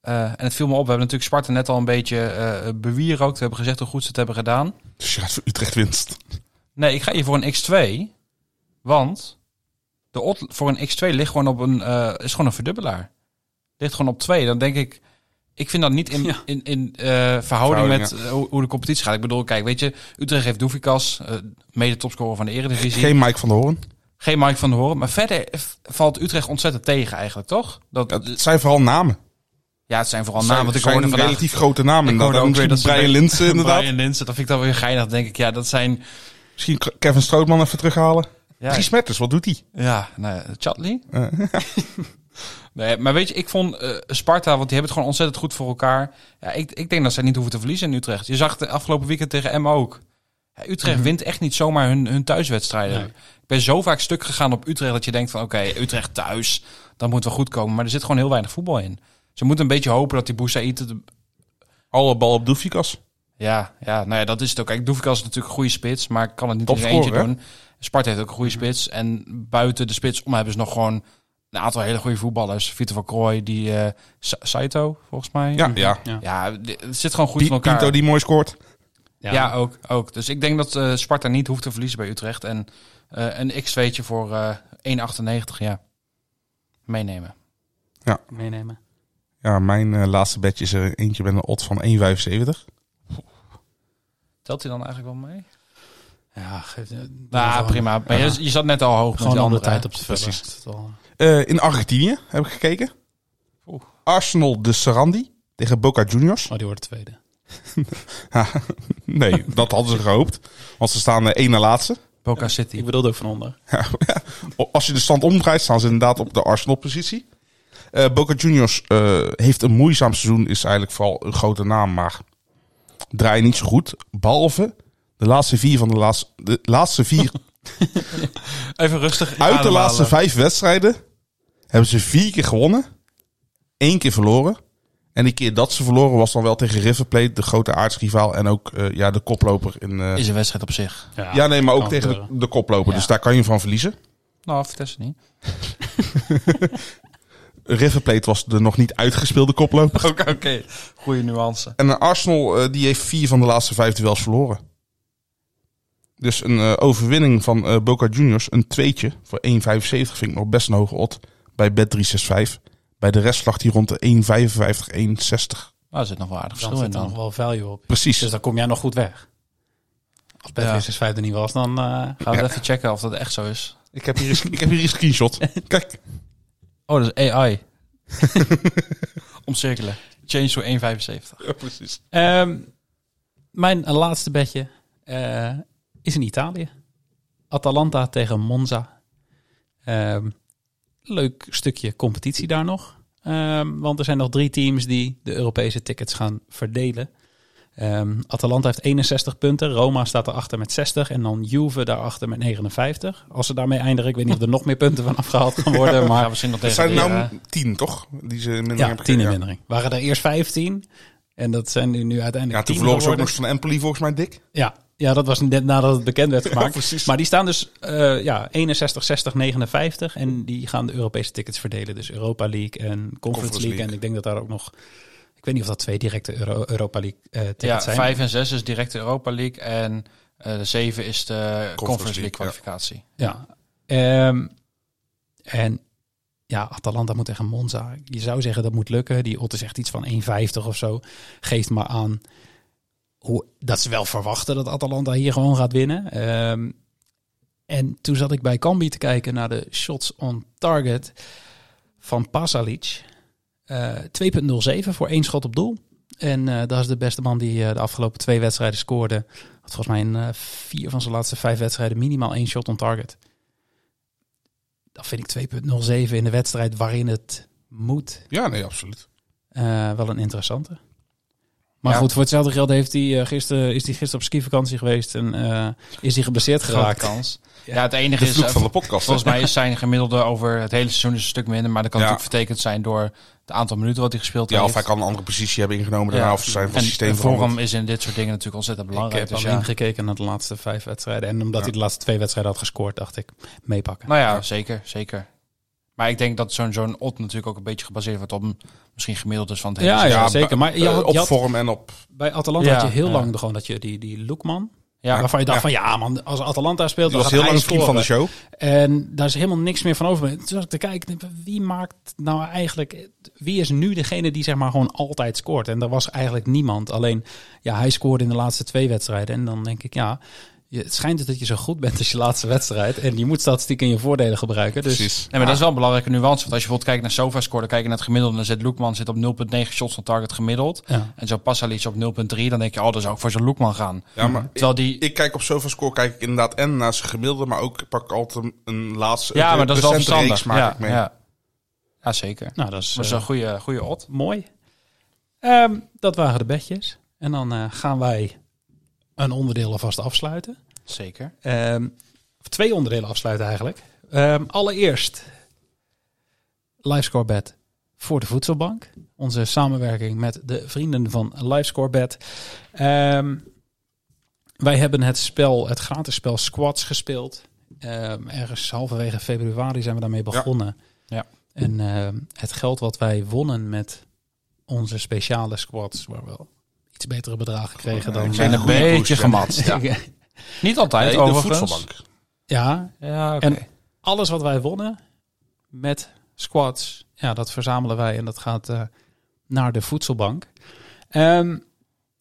Eh, en het viel me op. We hebben natuurlijk Sparta net al een beetje eh bewierookt. We hebben gezegd hoe goed ze het hebben gedaan.
Dus je gaat voor Utrecht winst.
Nee, ik ga hier voor een X2. Want de odd voor een X2 ligt gewoon op een, eh, is gewoon een verdubbelaar. Ligt gewoon op 2. Dan denk ik, ik vind dat niet in,
Ja.
in, in eh, verhouding
Verhouding,
met eh, hoe, hoe de competitie gaat. Ik bedoel, kijk, weet je, Utrecht heeft Doefikas, eh, mede topscorer van de Eredivisie.
Geen Mike van der Hoorn.
Geen Mike van der Horen. Maar verder eh, valt Utrecht ontzettend tegen eigenlijk, toch? Dat,
Ja, het zijn vooral namen.
ja, het zijn vooral
Het zijn,
namen. Want ik
zijn
hoorde vandaag...
relatief grote namen.
ik
inderdaad.
hoorde
En
ook weer dat
misschien
ze-
Brian Linsen inderdaad.
Brian Linsen, dat vind ik dan weer geinig. Dan denk ik, ja, dat zijn...
Misschien Kevin Strootman even terughalen.
Ja,
Dries Metters, wat doet hij?
Ja, nou, Chatley. nee, maar weet je, ik vond eh, Sparta, want die hebben het gewoon ontzettend goed voor elkaar. Ja, ik, ik denk dat zij niet hoeven te verliezen in Utrecht. Je zag het afgelopen weekend tegen Emma ook. Ja, Utrecht wint echt niet zomaar hun, hun thuiswedstrijden.
Nee.
Ik ben zo vaak stuk gegaan op Utrecht dat je denkt van oké, Utrecht thuis, dan moet wel goed komen. Maar er zit gewoon heel weinig voetbal in. Ze moeten een beetje hopen dat die Boussaïd het
Alle bal op Doefikas.
ja, ja, nou ja, dat is het ook. Kijk, Doefikas is natuurlijk een goede spits, maar kan het niet in zijn
Topscorer,
eentje doen. Sparta heeft ook een goede
Mhm.
spits. En buiten de spits om hebben ze nog gewoon een aantal hele goede voetballers. Vito van Krooi, die eh, Sa- Saito, volgens mij.
Ja, ja.
Ja, di- het zit gewoon goed
Pi-
in elkaar.
Pinto die mooi scoort.
ja. ook, ook. Dus ik denk dat eh, Sparta niet hoeft te verliezen bij Utrecht. En eh, een x2'tje voor eh 1,98, ja, meenemen.
Meenemen.
Ja, mijn eh, laatste badge is er eentje met een odd van 1,75.
Telt hij dan eigenlijk wel mee?
Ja, geef- eh,
Nou,
gewoon-
prima. Maar je, je zat net al hoog met
Gewoon
die
een andere
andere
tijd
hè?
op de vullen.
Precies.
Dat is wel-
Eh, in Argentinië heb ik gekeken.
Oeh.
Arsenal de Sarandi tegen Boca Juniors.
Oh, die wordt tweede.
Nee, dat hadden ze gehoopt. Want ze staan eh, één na laatste.
Boca City.
Ik bedoelde ook van onder.
O- Als je de stand omdraait, staan ze inderdaad op de Arsenal-positie. Eh, Boca Juniors eh, heeft een moeizaam seizoen. Is eigenlijk vooral een grote naam, maar draait niet zo goed. Behalve de laatste vier van de laatste... De laatste vier
Even rustig
Uit de
ademhalen.
laatste vijf wedstrijden hebben ze vier keer gewonnen. één keer verloren. En die keer dat ze verloren was dan wel tegen River Plate, de grote aardsrivaal. En ook eh, ja, de koploper in... eh,
Is een wedstrijd op zich.
ja, nee, maar ook
kan
tegen de,
gebeuren.
de koploper.
Ja.
Dus daar kan je van verliezen.
Nou, Vitesse niet.
River Plate was de nog niet uitgespeelde koploper.
Oké, oké. Goede nuance.
En eh, Arsenal eh, die heeft vier van de laatste vijf duels verloren. Dus een eh, overwinning van eh, Boca Juniors, een tweetje voor 1,75 vind ik nog best een hoge odd bij Bet365. Bij de rest lag die rond de 1,55, 1,60.
Nou, er zit nog wel aardig
Dan
verschil in
zit er nog
dan.
wel value op.
Precies.
Dus dan kom jij nog goed weg. Als
Ja.
Patrick 65 er niet was, dan... eh,
Gaan we even checken of dat echt zo is.
Ik heb hier, een- ik heb hier een screenshot. Kijk,
Oh, dat is AI. Omcirkelen. Change voor 1,75.
Ehm, mijn laatste bedje eh, is in Italië. Atalanta tegen Monza. Ehm, leuk stukje competitie daar nog. Ehm, want er zijn nog drie teams die de Europese tickets gaan verdelen. Ehm, Atalanta heeft 61 punten. Roma staat erachter met 60. En dan Juve daarachter met 59. Als ze daarmee eindigen, ik weet niet of er nog meer punten van afgehaald gaan worden.
Maar
Maar
gaan misschien nog
het
tegen
zijn
nou...
nou tien, toch? Die ze minder
ja,
hebben
tien in
gekregen.
mindering. Waren er eerst 15. En dat zijn nu, nu
Ja,
uiteindelijk
toen
tien
verloren ze ook
geworden.
nog eens van Empoli volgens mij, Dick.
Ja, ja, dat was net nadat het bekend werd gemaakt. maar die staan dus eh, ja, 61, 60, 59. En die gaan de Europese tickets verdelen. Dus Europa League en Conference, League.
League.
En ik denk dat daar ook nog... Ik weet niet of dat twee directe Euro- Europa League eh, tickets
Ja,
zijn.
5 en 6 is direct de Europa League. En eh, de 7 is de Conference,
League,
League
ja.
kwalificatie.
Ja. Ehm, en ja, Atalanta moet tegen Monza. Je zou zeggen dat moet lukken. Die odd is echt iets van 1,50 of zo. Geeft maar aan hoe, dat ze wel verwachten dat Atalanta hier gewoon gaat winnen. Ehm, en toen zat ik bij Cambi te kijken naar de shots on target van Pasalic. Eh, 2,07 voor één schot op doel. En eh, dat is de beste man die eh, de afgelopen twee wedstrijden scoorde. Had volgens mij in eh, vier van zijn laatste vijf wedstrijden minimaal één shot on target. Dan vind ik 2.07 in de wedstrijd waarin het moet
Ja, nee, absoluut.
eh, wel een interessante. Maar
Ja.
goed, voor hetzelfde geld heeft hij, eh, gisteren, is hij gisteren op skivakantie geweest en eh, is hij geblesseerd geraakt.
kans. Ja, het enige
De
is,
vloek
eh,
van de podcast. hè?
volgens mij is zijn gemiddelde over het hele seizoen dus een stuk minder. Maar dat kan
Ja.
natuurlijk vertekend zijn door het aantal minuten wat hij gespeeld
Ja,
heeft.
of hij kan een andere positie hebben ingenomen
Ja.
daarna. Of zijn van
en,
systeem
en voor hem
veranderd.
is in dit soort dingen natuurlijk ontzettend
Ik
belangrijk.
heb
Dus
alleen
ja.
gekeken naar de laatste vijf wedstrijden. En omdat hij de laatste twee wedstrijden had gescoord, dacht ik, meepakken.
Nou ja, zeker, zeker. Maar ik denk dat zo'n zo'n odd natuurlijk ook een beetje gebaseerd wordt op hem misschien gemiddeld is van het hele
ja, ja,
seizoen.
Ja,
zeker. Maar je
Eh,
had-
op
je had-
vorm en op...
bij Atalanta
Ja,
had je heel
ja.
lang de- gewoon dat je die, die Loekman...
Ja.
waarvan je dacht
Ja.
van ja man, als Atalanta speelt,
Die
dan
was
gaat hij
heel lang het team van de
scoren.
show.
En daar is helemaal niks meer van over. Toen zat ik te kijken, ik denk, wie maakt nou eigenlijk... Wie is nu degene die zeg maar gewoon altijd scoort? En er was eigenlijk niemand. Alleen, ja, hij scoorde in de laatste twee wedstrijden. En dan denk ik, ja... Je, het schijnt dus dat je zo goed bent als je laatste wedstrijd. En je moet statistiek in je voordelen gebruiken. Dus
Precies.
Nee, maar dat is wel een belangrijke nuance. Want als je bijvoorbeeld kijkt naar SofaScore, dan kijk je naar het gemiddelde. Dan zit Loekman zit op 0,9 shots van target gemiddeld.
Ja.
En zo Passali is op 0,3. Dan denk je, oh, dat zou ook voor zo'n Loekman gaan.
Ja, maar
Terwijl die...
ik, ik kijk op zoveel score kijk ik inderdaad en naar zijn gemiddelde, maar ook pak ik altijd een laatste
ja,
een
maar dat is wel
recente
verstandig.
reeks maak
ja,
ik mee. Dus,
Ja. ja, zeker.
Nou, dat is,
Dat is
eh,
een goede, goede odd.
mooi. Ehm, dat waren de bedjes. En dan eh, gaan wij een onderdeel alvast afsluiten.
Zeker.
Ehm, of twee onderdelen afsluiten eigenlijk. Ehm, allereerst LiveScoreBet voor de voedselbank. Onze samenwerking met de vrienden van LiveScoreBet. Ehm wij hebben het spel, het gratis spel Squats gespeeld. Ehm, ergens halverwege februari zijn we daarmee begonnen.
Ja.
En ehm, het geld wat wij wonnen met onze speciale squats, waar we wel iets betere bedragen kregen dan...
ik zei
eh,
een
Een
goede
beetje
boost, ja.
gematst. Niet altijd,
Nee, de
overigens.
voedselbank.
ja,
Ja, oké.
En alles wat wij wonnen met squats, ja, dat verzamelen wij en dat gaat eh, naar de voedselbank. Ehm,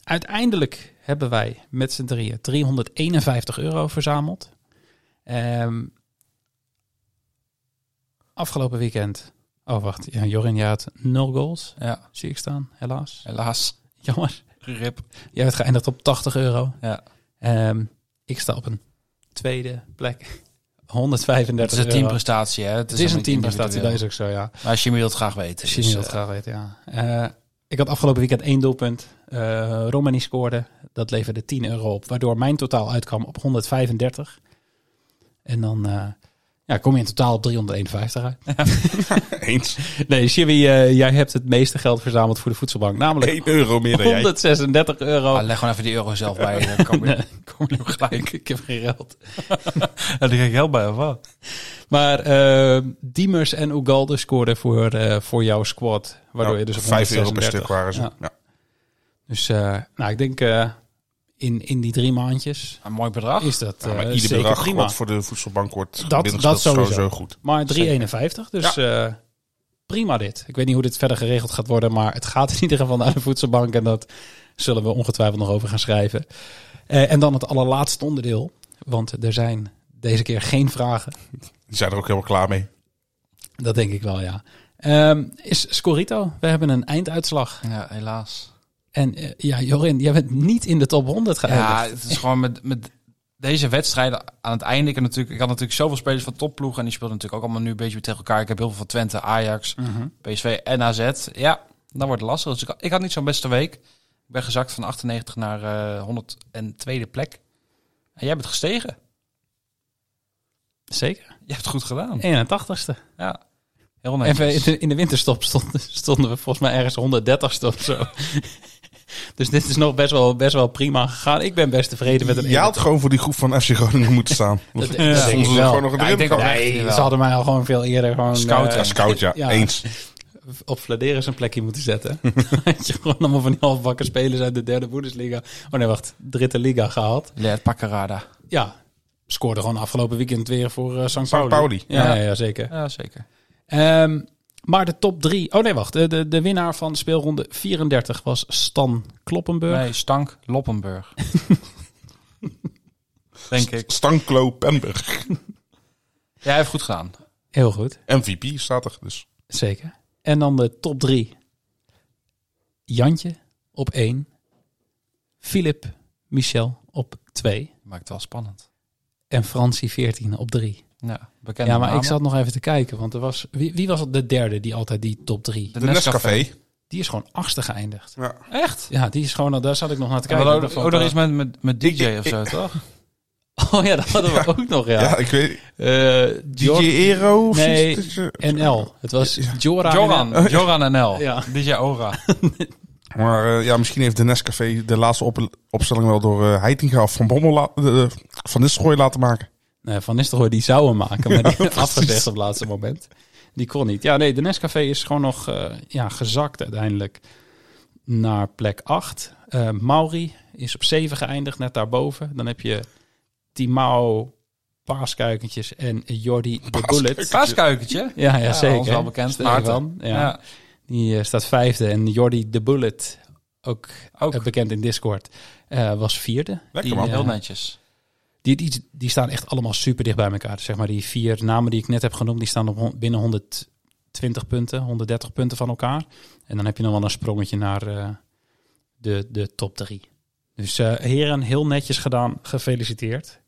uiteindelijk hebben wij met z'n drieën 351 euro verzameld. Ehm, afgelopen weekend. Oh, wacht. Ja, Jorin, jij had nul goals,
Ja,
zie ik staan, helaas.
helaas.
Jammer.
Rip.
Jij bent geëindigd op 80 euro.
Ja.
Ehm, ik sta op een tweede plek.
Het
135
is een
euro.
teamprestatie, hè?
Het is een teamprestatie, dat
individueel.
is ook zo, ja.
Maar Jimmy wil het graag weten.
Als je niet
dus,
dat
eh,
graag weet, ja. Eh, ik had afgelopen weekend één doelpunt. Eh Romani scoorde. Dat leverde 10 euro op. Waardoor mijn totaal uitkwam op 135. En dan eh, ja, kom je in totaal op 351 uit.
Eens.
Nee, Jimmy, eh, jij hebt het meeste geld verzameld voor de voedselbank. Namelijk
1 euro meer dan jij.
136 euro.
ah, leg gewoon even die euro zelf bij. eh, Dan kom je
Kom je nou gelijk, ik heb geen geld.
Ja, die kreeg ik heel bij, of wat?
Maar eh, Diemers en Ugalde scoorden voor, eh, voor jouw squad. Waardoor
Ja,
je dus op
5 euro per
136
stuk waren ze.
Ja.
Ja.
Dus eh, nou, ik denk eh, in, in die drie maandjes
Een Ah, mooi bedrag.
is dat
Ja,
eh,
maar
zeker
ieder bedrag
prima.
wat voor de voedselbank wordt
dat
binnengespeeld is
sowieso.
goed.
Maar 3,51, dus eh, prima dit. Ik weet niet hoe dit verder geregeld gaat worden, maar het gaat in ieder geval naar de voedselbank. En dat zullen we ongetwijfeld nog over gaan schrijven. Eh, en dan het allerlaatste onderdeel, want er zijn deze keer geen vragen.
Die zijn er ook helemaal klaar mee.
Dat denk ik wel, ja. Ehm, is Scorito, we hebben een einduitslag.
Ja, helaas.
En eh, ja, Jorin, jij bent niet in de top 100 geëindigd.
Ja, het is gewoon met, met deze wedstrijden aan het einde. Ik, heb natuurlijk, ik had natuurlijk zoveel spelers van topploegen. En die speelden natuurlijk ook allemaal nu een beetje tegen elkaar. Ik heb heel veel van Twente, Ajax,
Mhm.
PSV en AZ. Ja, dan wordt het lastig. Dus ik, ik had niet zo'n beste week. Ik ben gezakt van 98 naar eh 102e plek. En jij bent gestegen.
Zeker. Oh,
Je hebt het goed gedaan.
81ste.
Ja, heel
En we-
netjes.
in de, in de winterstop stonden, stonden we volgens mij ergens 130ste of zo. dus dit is nog best wel, best wel prima gegaan. Ik ben best tevreden met een
Je had gewoon voor die groep van FC Groningen moeten staan.
Dat- dat
Stonden
denk ik
ze
wel.
gewoon nog
Ja, ik
erin.
denk ook
komen.
echt
Nee,
wel.
ze hadden mij al gewoon veel eerder gewoon
Scout,
eh,
Ja, scout ja.
Ja.
Eens.
op Fladeren zijn plekje moeten zetten. Had je gewoon allemaal van die halfbakken spelers uit de derde Bundesliga. Oh nee, wacht. Dritte liga gehaald.
Leert Pakkerada.
Ja, scoorde gewoon afgelopen weekend weer voor eh St. Pauli.
St. Pauli.
Ja, ja.
Ja.
zeker.
Ja, zeker.
Ehm, maar de top drie... Oh nee, wacht. De, de, de winnaar van speelronde 34 was Stan Kloppenburg.
Nee, Stank Loppenburg. Denk ik.
Stanklo Pemberg.
Jij heeft goed gedaan.
Heel goed.
MVP staat er dus.
Zeker. En dan de top drie. Jantje op één. Filip Michel op twee.
Maakt het wel spannend.
En Francie 14 op drie.
Ja, bekende
Ja, maar ik
namen.
zat nog even te kijken, want er was... Wie, wie was de derde die altijd die top drie?
De
De Nescafé.
Die is gewoon achtste geëindigd.
Echt? oh,
Ja, die is gewoon... Daar zat ik nog naar te
Ja,
kijken.
maar ook,
Dat vond
ook nog
ik eh,
eens met, met, met DJ
Ik-
of
ik-
zo, toch?
wel- Oh ja, dat hadden we ook nog, ja.
Ja, ik weet.
Eh,
DJ
Jor-
Ero? of
Nee.
zoiets?
NL. Het was Joran.
Joran. Joran NL.
Ja.
DJ Ora.
Maar eh, ja, misschien heeft de Nescafé de laatste op- opstelling wel door eh Heitinga of Van Bommel la- eh, van Nistelrooy laten maken.
Nee, Van Nistelrooy die zou hem maken, maar die
precies.
afgezegd op het laatste moment. Die kon niet. Ja, nee, de Nescafé is gewoon nog eh, ja, gezakt uiteindelijk naar plek 8. Eh Mauri is op 7 geëindigd, net daarboven. Dan heb je Timao Paaskuikentjes en Jordi de Bullet.
Paaskuikentje.
Ja, ja,
Ja,
zeker.
ons wel bekend,
Steven
Maarten.
van, Ja.
Ja.
Die eh, staat vijfde. En Jordi de Bullet, ook,
Ook.
eh, bekend in Discord, eh, was vierde.
Lekker
Die,
man.
Ja.
heel netjes.
Die, die, die staan echt allemaal super dicht bij elkaar. Zeg maar die vier namen die ik net heb genoemd, die staan op hon- binnen 120 punten, 130 punten van elkaar. En dan heb je nog wel een sprongetje naar eh, de, de top drie. Dus eh, heren, heel netjes gedaan. Gefeliciteerd.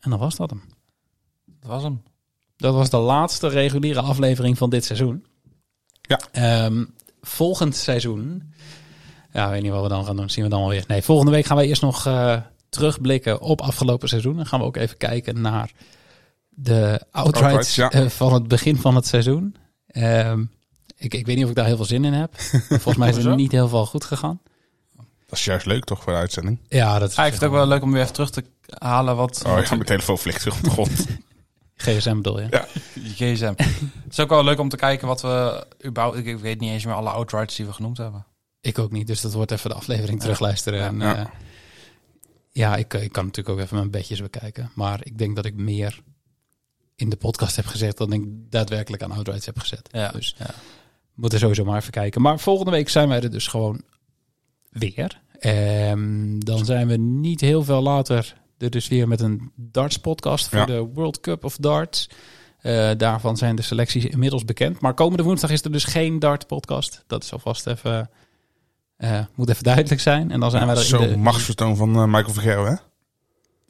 En dan was dat hem.
Dat was hem.
Dat was de laatste reguliere aflevering van dit seizoen.
Ja.
Ehm, volgend seizoen. Ja, ik weet niet wat we dan gaan doen. Zien we dan wel weer. Nee, volgende week gaan wij eerst nog eh, terugblikken op afgelopen seizoen. Dan gaan we ook even kijken naar de outrights,
Outrights, ja.
eh, van het begin van het seizoen. Ehm, ik, ik weet niet of ik daar heel veel zin in heb. Volgens mij is het
Hoezo?
niet heel veel goed gegaan.
Dat is juist leuk toch voor de uitzending?
Ja, dat is
Ah, ik vind het ook wel leuk om weer even terug te halen wat...
Oh, ik ga mijn telefoon vliegt weer op de grond.
GSM bedoel je?
GSM. het is ook wel leuk om te kijken wat we überhaupt... Ik, ik weet niet eens meer alle outrights die we genoemd hebben.
Ik ook niet, dus dat wordt even de aflevering terugluisteren. En,
Ja.
ja, ja ik, eh, ik kan natuurlijk ook even mijn bedjes bekijken. Maar ik denk dat ik meer in de podcast heb gezegd dan ik daadwerkelijk aan Outrights heb gezet.
Ja.
Dus
Ja.
we moeten sowieso maar even kijken. Maar volgende week zijn wij er dus gewoon weer. Ehm, dan zijn we niet heel veel later er dus weer met een darts podcast voor
Ja.
de World Cup of Darts. Eh, daarvan zijn de selecties inmiddels bekend. Maar komende woensdag is er dus geen dart podcast. Dat is alvast even... eh, moet even duidelijk zijn. En dan zijn wij er in
Zo'n
de-
machtsvertoon van eh, Michael Vergerwe, hè?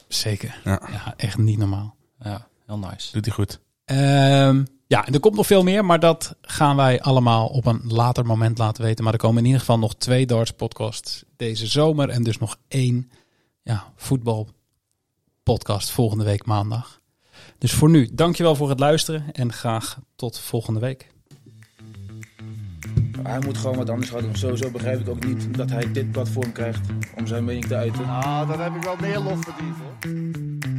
Zeker. Ja.
Ja.
echt niet normaal.
Ja, heel nice.
Doet hij goed.
Ehm, ja, en er komt nog veel meer, maar dat gaan wij allemaal op een later moment laten weten. Maar er komen in ieder geval nog twee darts podcasts deze zomer en dus nog één ja, voetbal podcast volgende week maandag. Dus voor nu, dankjewel voor het luisteren en graag tot volgende week.
Hij moet gewoon wat anders gaan doen. Sowieso begrijp ik ook niet dat hij dit platform krijgt om zijn mening te uiten.
Ah, dan heb ik wel meer lof verdiend hoor.